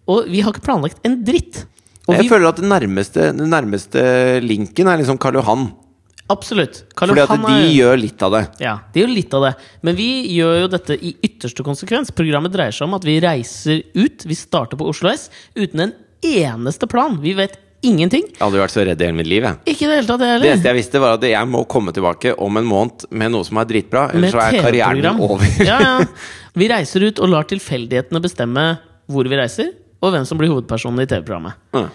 [SPEAKER 2] Og vi har ikke planlagt en dritt. Og
[SPEAKER 1] Jeg
[SPEAKER 2] vi,
[SPEAKER 1] føler at den nærmeste, den nærmeste linken er liksom Karl Johan.
[SPEAKER 2] absolutt. Karl
[SPEAKER 1] Fordi at
[SPEAKER 2] Johan
[SPEAKER 1] de
[SPEAKER 2] er-
[SPEAKER 1] gjør litt av det.
[SPEAKER 2] Ja, det er jo litt av det. Men vi gjør jo dette i ytterste konsekvens. Programmet dreier seg om at vi reiser ut. Vi starter på Oslo S uten en eneste plan. Vi vet ingenting.
[SPEAKER 1] Jeg hadde jo vært så redd i hele mitt liv. Jeg.
[SPEAKER 2] Ikke i det hele tatt, jeg
[SPEAKER 1] Det
[SPEAKER 2] heller.
[SPEAKER 1] eneste jeg visste, var at jeg må komme tilbake om en måned med noe som er dritbra. Ellers så er karrieren
[SPEAKER 2] TV-program.
[SPEAKER 1] min over.
[SPEAKER 2] ja, ja. Vi reiser ut og lar tilfeldighetene bestemme hvor vi reiser, og hvem som blir hovedpersonen i TV-programmet.
[SPEAKER 1] Ja.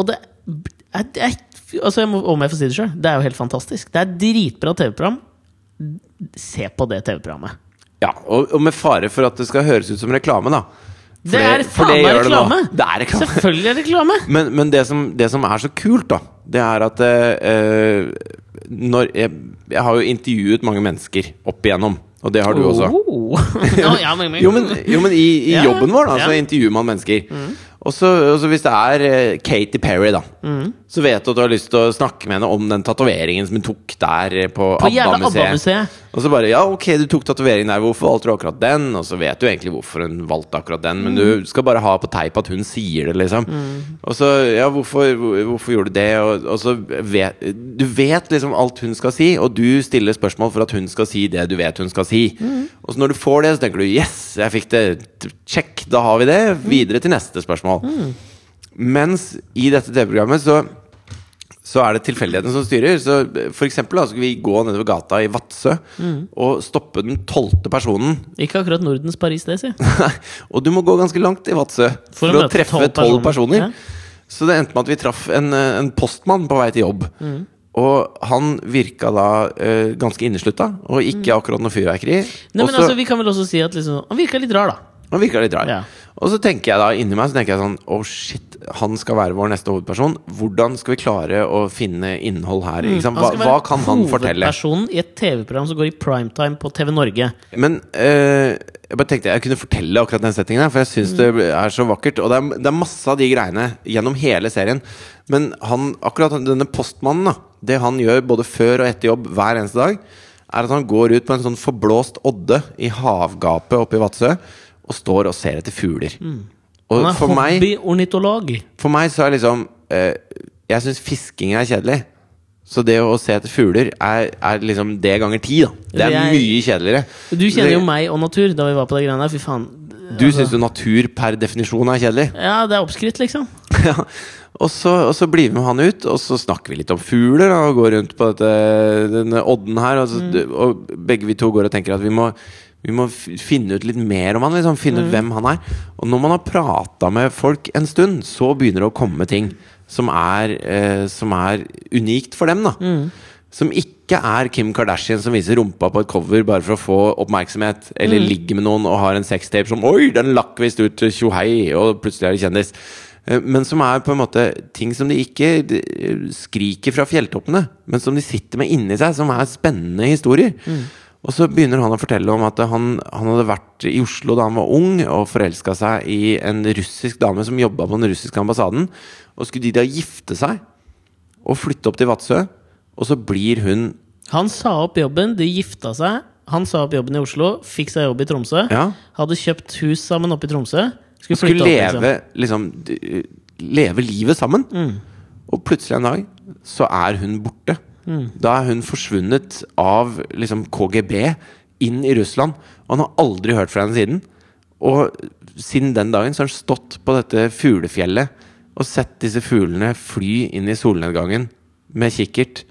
[SPEAKER 2] Og det er, det er altså jeg må, Om jeg får si det sjøl, det er jo helt fantastisk. Det er dritbra TV-program. Se på det TV-programmet.
[SPEAKER 1] Ja, og, og med fare for at det skal høres ut som reklame, da. For
[SPEAKER 2] Det er
[SPEAKER 1] for
[SPEAKER 2] faen meg
[SPEAKER 1] gjør det nå.
[SPEAKER 2] reklame!
[SPEAKER 1] Det er reklame.
[SPEAKER 2] Selvfølgelig er det reklame!
[SPEAKER 1] Men, men det, som, det som er så kult, da, det er at eh, når jeg, jeg har jo intervjuet mange mennesker opp igjennom, og det har du også.
[SPEAKER 2] Oh. Ja, ja, men,
[SPEAKER 1] Jo, men, jo, men i, i
[SPEAKER 2] Ja, ja.
[SPEAKER 1] jobben vår, da, så
[SPEAKER 2] Ja. Mm.
[SPEAKER 1] intervjuer man mennesker. Og så og så hvis det er eh, Katy Perry, da,
[SPEAKER 2] Mm.
[SPEAKER 1] så vet du at du har lyst til å snakke med henne om den tatoveringen som hun tok der eh, på,
[SPEAKER 2] På jævla
[SPEAKER 1] ABBA-museet.
[SPEAKER 2] ABBA-museet.
[SPEAKER 1] og så bare Ja, ok, du tok tatoveringen der, hvorfor valgte du akkurat den? Og så vet du egentlig hvorfor hun valgte akkurat den, men du skal bare ha på teip at hun sier det, liksom. Og så Ja, hvorfor, hvor- hvorfor gjorde du det? Og, og så vet Du vet liksom alt hun skal si, og du stiller spørsmål for at hun skal si det du vet hun skal si. Og så når du får det, så tenker du Yes, jeg fikk det. Check, da har vi det. Videre til neste spørsmål. Mens i dette TV-programmet så så er det tilfeldigheten som styrer. Så for eksempel da, så skal vi gå nedover gata i Vadsø
[SPEAKER 2] Mm.
[SPEAKER 1] og stoppe den tolvte personen.
[SPEAKER 2] Ikke akkurat Nordens Paris, det, si.
[SPEAKER 1] og du må gå ganske langt i Vadsø for,
[SPEAKER 2] å
[SPEAKER 1] å,
[SPEAKER 2] møte
[SPEAKER 1] treffe
[SPEAKER 2] 12
[SPEAKER 1] tolv
[SPEAKER 2] personer.
[SPEAKER 1] personer. Så det endte med at vi traff en, eh, en postmann på vei til jobb.
[SPEAKER 2] Mm.
[SPEAKER 1] Og han virka da eh, ganske inneslutta, og ikke akkurat noe fyrverkeri.
[SPEAKER 2] Mm. Nei, men
[SPEAKER 1] Og så-
[SPEAKER 2] altså, vi kan vel også si at liksom, han virka litt rar, da.
[SPEAKER 1] han virka litt rar.
[SPEAKER 2] Ja.
[SPEAKER 1] Og så tenker jeg da inni meg så tenker jeg sånn Oh shit, han skal være vår neste hovedperson. Hvordan skal vi klare å finne innhold her? Ikke sant? Hva,
[SPEAKER 2] Mm. skal
[SPEAKER 1] hva
[SPEAKER 2] være
[SPEAKER 1] kan han fortelle?
[SPEAKER 2] Hovedpersonen i et TV-program som går i primetime på TV Norge.
[SPEAKER 1] Men eh, jeg bare tenkte jeg kunne fortelle akkurat den settingen, her, for jeg syns
[SPEAKER 2] Mm.
[SPEAKER 1] det er så vakkert. Og det er, det er masse av de greiene gjennom hele serien. Men han, akkurat denne postmannen, da, det han gjør både før og etter jobb hver eneste dag, er at han går ut på en sånn forblåst odde i havgapet oppe i Vadsø og står og ser etter fugler. Og
[SPEAKER 2] Mm. Han er
[SPEAKER 1] for meg
[SPEAKER 2] hobbyornitolog.
[SPEAKER 1] For meg så er liksom eh, Jeg syns fisking er kjedelig. Så det å se etter fugler er, er liksom det ganger ti, da. Det er
[SPEAKER 2] Jeg-
[SPEAKER 1] mye kjedeligere.
[SPEAKER 2] Du kjenner jo
[SPEAKER 1] Det-
[SPEAKER 2] meg og natur da vi var på de greiene der. Fy faen.
[SPEAKER 1] Du syns jo natur per definisjon er kjedelig.
[SPEAKER 2] Ja, det er oppskrytt, liksom.
[SPEAKER 1] Ja. Og så, og så blir vi med han ut, og så snakker vi litt om fugler. da, Og går rundt på dette, denne odden her. Og, så, og begge vi to går og tenker at vi må, vi må f- finne ut litt mer om han. Liksom, finne ut hvem han er. Og når man har prata med folk en stund, så begynner det å komme ting som er, eh, som er unikt for dem. da Som ikke er Kim Kardashian som viser rumpa på et cover bare for å få oppmerksomhet, eller ligger med noen og har en sextape som 'Oi, den lakk visst ut, tjohei', og plutselig er de kjendis. Eh, Men som er på en måte ting som de ikke eh, skriker fra fjelltoppene, men som de sitter med inni seg, som er spennende historier. Og så begynner han å fortelle om at han, han hadde vært i Oslo da han var ung, og forelska seg i en russisk dame som jobba på den russiske ambassaden. Og skulle de da gifte seg? og flytte opp til Vadsø. Og så blir hun
[SPEAKER 2] Han sa opp jobben, de gifta seg. Han sa opp jobben i Oslo, fikk seg jobb i Tromsø.
[SPEAKER 1] Ja.
[SPEAKER 2] Hadde kjøpt hus sammen oppe i Tromsø. Skulle,
[SPEAKER 1] Skulle
[SPEAKER 2] flytte opp,
[SPEAKER 1] leve, liksom, d- leve livet sammen.
[SPEAKER 2] Mm.
[SPEAKER 1] Og plutselig en dag så er hun borte. Da er hun forsvunnet av liksom, KGB inn i Russland. Og han har aldri hørt fra henne siden. Og siden den dagen så har han stått på dette fuglefjellet og sett disse fuglene fly inn i solnedgangen med kikkert.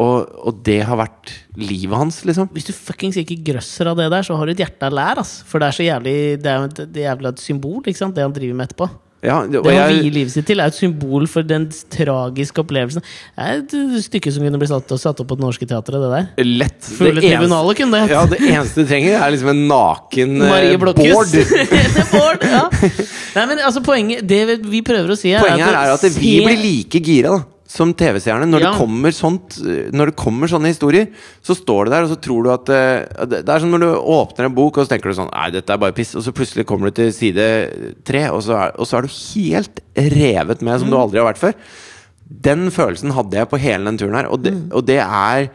[SPEAKER 1] Og, og det har vært livet hans, liksom.
[SPEAKER 2] Hvis du fuckings ikke grøsser av det der, så har du et hjerte av lær. Ass. For det er så jævlig Det er jo et, det er jævlig et symbol, ikke sant? det han driver med etterpå.
[SPEAKER 1] Ja, og
[SPEAKER 2] Det han
[SPEAKER 1] jeg-
[SPEAKER 2] vier livet sitt til, er et symbol for den tragiske opplevelsen. Det er et eh, stykke som kunne blitt satt, satt opp på Det Norske Teatret, det der.
[SPEAKER 1] Lett.
[SPEAKER 2] Fugletribunalet kunne det hett.
[SPEAKER 1] Ja, det eneste du trenger, er liksom en naken eh,
[SPEAKER 2] Marie Blokhus.
[SPEAKER 1] Bård.
[SPEAKER 2] Det er Bård, ja. Nei, men altså, poenget Det vi- vi prøver å si, her
[SPEAKER 1] Poenget her er at vi
[SPEAKER 2] se-
[SPEAKER 1] blir like gira da som TV-seerne. Når,
[SPEAKER 2] Ja.
[SPEAKER 1] det kommer sånt, eh, når det kommer sånne historier, så står det der, og så tror du at eh, Det det er som når du åpner en bok, og så tenker du sånn Nei, dette er bare piss. Og så plutselig kommer du til side tre, og så er, og så er du helt revet med som du
[SPEAKER 2] Mm.
[SPEAKER 1] aldri har vært før. Den følelsen hadde jeg på hele den turen her, og det,
[SPEAKER 2] Mm.
[SPEAKER 1] og det er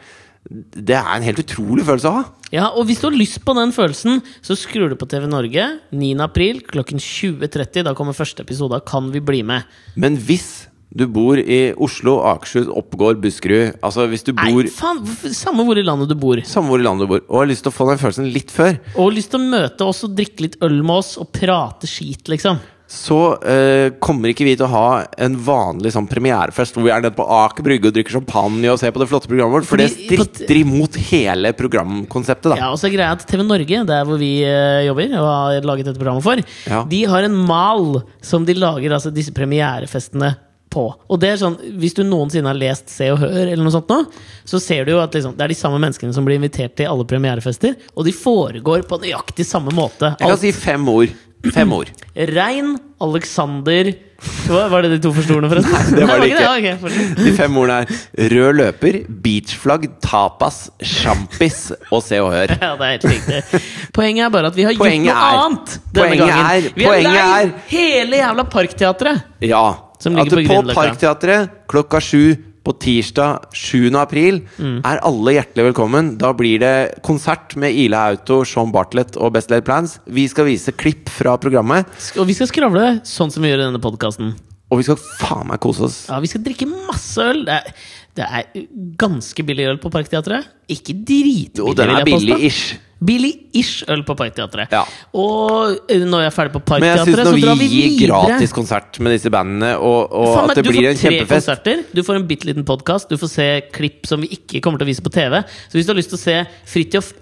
[SPEAKER 1] Det er en helt utrolig følelse å ha.
[SPEAKER 2] Ja, og hvis du har lyst på den følelsen, så skrur du på TV Norge 9. april klokken 20.30. Da kommer første episode av Kan vi bli med?
[SPEAKER 1] Men hvis du bor i Oslo, Akershus, Oppegård, Buskerud Altså hvis du bor
[SPEAKER 2] Nei, faen, hvorfor- samme hvor i landet du bor.
[SPEAKER 1] samme hvor i landet du bor, og har lyst til å få den følelsen litt før,
[SPEAKER 2] Og lyst til å møte oss og drikke litt øl med oss og prate skit, liksom.
[SPEAKER 1] så eh, kommer ikke vi til å ha en vanlig sånn premierefest hvor vi er nede på Aker Brygge og drikker champagne og ser på det flotte programmet vårt, for det
[SPEAKER 2] Fordi-
[SPEAKER 1] stritter imot hele programkonseptet, da.
[SPEAKER 2] Ja, og så er greia at TV Norge, der hvor vi eh, jobber og har laget dette programmet for,
[SPEAKER 1] Ja.
[SPEAKER 2] de har en mal som de lager altså, disse premierefestene på. Og det er sånn, Hvis du noensinne har lest Se og Hør, eller noe sånt nå, så ser du jo at liksom, det er de samme menneskene som blir invitert til alle premierefester, og de foregår på nøyaktig samme måte.
[SPEAKER 1] Jeg kan
[SPEAKER 2] Alt,
[SPEAKER 1] si fem ord. Fem ord.
[SPEAKER 2] Rein, Alexander Hva- Var det de to første ordene, forresten? Nei,
[SPEAKER 1] det var det ikke.
[SPEAKER 2] Ja, ok, fortsett.
[SPEAKER 1] De fem ordene er rød løper, beachflagg, tapas, sjampis og Se og Hør.
[SPEAKER 2] Ja, det er helt riktig. Poenget er bare at vi har
[SPEAKER 1] Poenget
[SPEAKER 2] gjort noe
[SPEAKER 1] er-
[SPEAKER 2] annet denne
[SPEAKER 1] poenget
[SPEAKER 2] gangen.
[SPEAKER 1] er-
[SPEAKER 2] vi har
[SPEAKER 1] poenget
[SPEAKER 2] leid
[SPEAKER 1] er-
[SPEAKER 2] hele jævla Parkteatret!
[SPEAKER 1] Ja.
[SPEAKER 2] Som
[SPEAKER 1] at
[SPEAKER 2] ligger på
[SPEAKER 1] på,
[SPEAKER 2] Grünerløkka.
[SPEAKER 1] Parkteatret klokka sju på tirsdag 7. april
[SPEAKER 2] Mm.
[SPEAKER 1] er alle hjertelig velkommen. Da blir det konsert med Ila Auto, Sean Bartlett og Best Laid Plans. Vi skal vise klipp fra programmet,
[SPEAKER 2] Sk- Og vi skal skravle sånn som vi gjør i denne podkasten.
[SPEAKER 1] og vi skal faen meg kose oss.
[SPEAKER 2] Ja, vi skal drikke masse øl. Det er, det er ganske billig øl på Parkteatret. Ikke dritbillig.
[SPEAKER 1] Og den
[SPEAKER 2] vil
[SPEAKER 1] er
[SPEAKER 2] jeg påstå.
[SPEAKER 1] billig-ish.
[SPEAKER 2] Billig-ish øl på Parkteatret.
[SPEAKER 1] Ja.
[SPEAKER 2] Og eh, når jeg er ferdig på
[SPEAKER 1] Men jeg syns
[SPEAKER 2] Parkteatret,
[SPEAKER 1] når
[SPEAKER 2] så drar
[SPEAKER 1] vi
[SPEAKER 2] vi
[SPEAKER 1] gir
[SPEAKER 2] videre.
[SPEAKER 1] gratis konsert med disse bandene, og, og
[SPEAKER 2] Faen meg,
[SPEAKER 1] at det
[SPEAKER 2] du
[SPEAKER 1] blir
[SPEAKER 2] får
[SPEAKER 1] en
[SPEAKER 2] tre
[SPEAKER 1] kjempefest
[SPEAKER 2] konserter, du får en bitte liten podkast, du får se klipp som vi ikke kommer til å vise på TV. Så hvis du har lyst til å se Fridtjof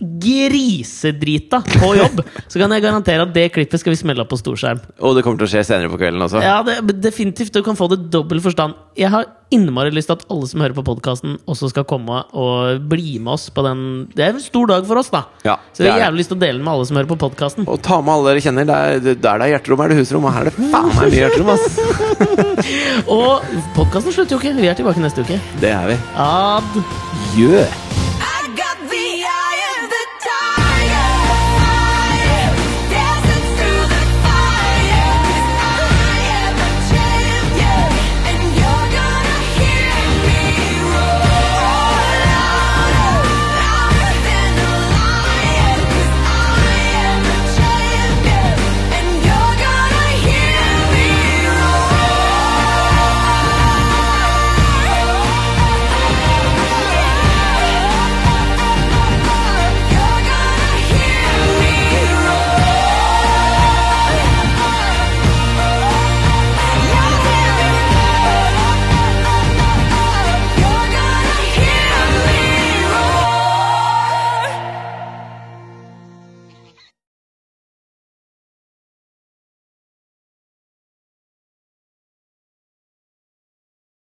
[SPEAKER 2] grisedrita på jobb, så kan jeg garantere at det klippet skal vi smelle opp på storskjerm.
[SPEAKER 1] Og det kommer til å skje senere på kvelden også.
[SPEAKER 2] Ja, det, definitivt. Du kan få det dobbel forstand. Jeg har innmari lyst til at alle som hører på podkasten, også skal komme og bli med oss på den Det er en stor dag for oss, da.
[SPEAKER 1] Ja,
[SPEAKER 2] Så vi har
[SPEAKER 1] det er
[SPEAKER 2] jævlig lyst til å dele den med alle som hører på podkasten.
[SPEAKER 1] Og ta med alle dere kjenner. Der der det er hjerterom, er det husrom. Og her er det faen meg mye hjerterom, ass!
[SPEAKER 2] Og podkasten slutter jo ikke. Vi er tilbake neste uke.
[SPEAKER 1] Det er vi.
[SPEAKER 2] Ad.
[SPEAKER 1] Gjør!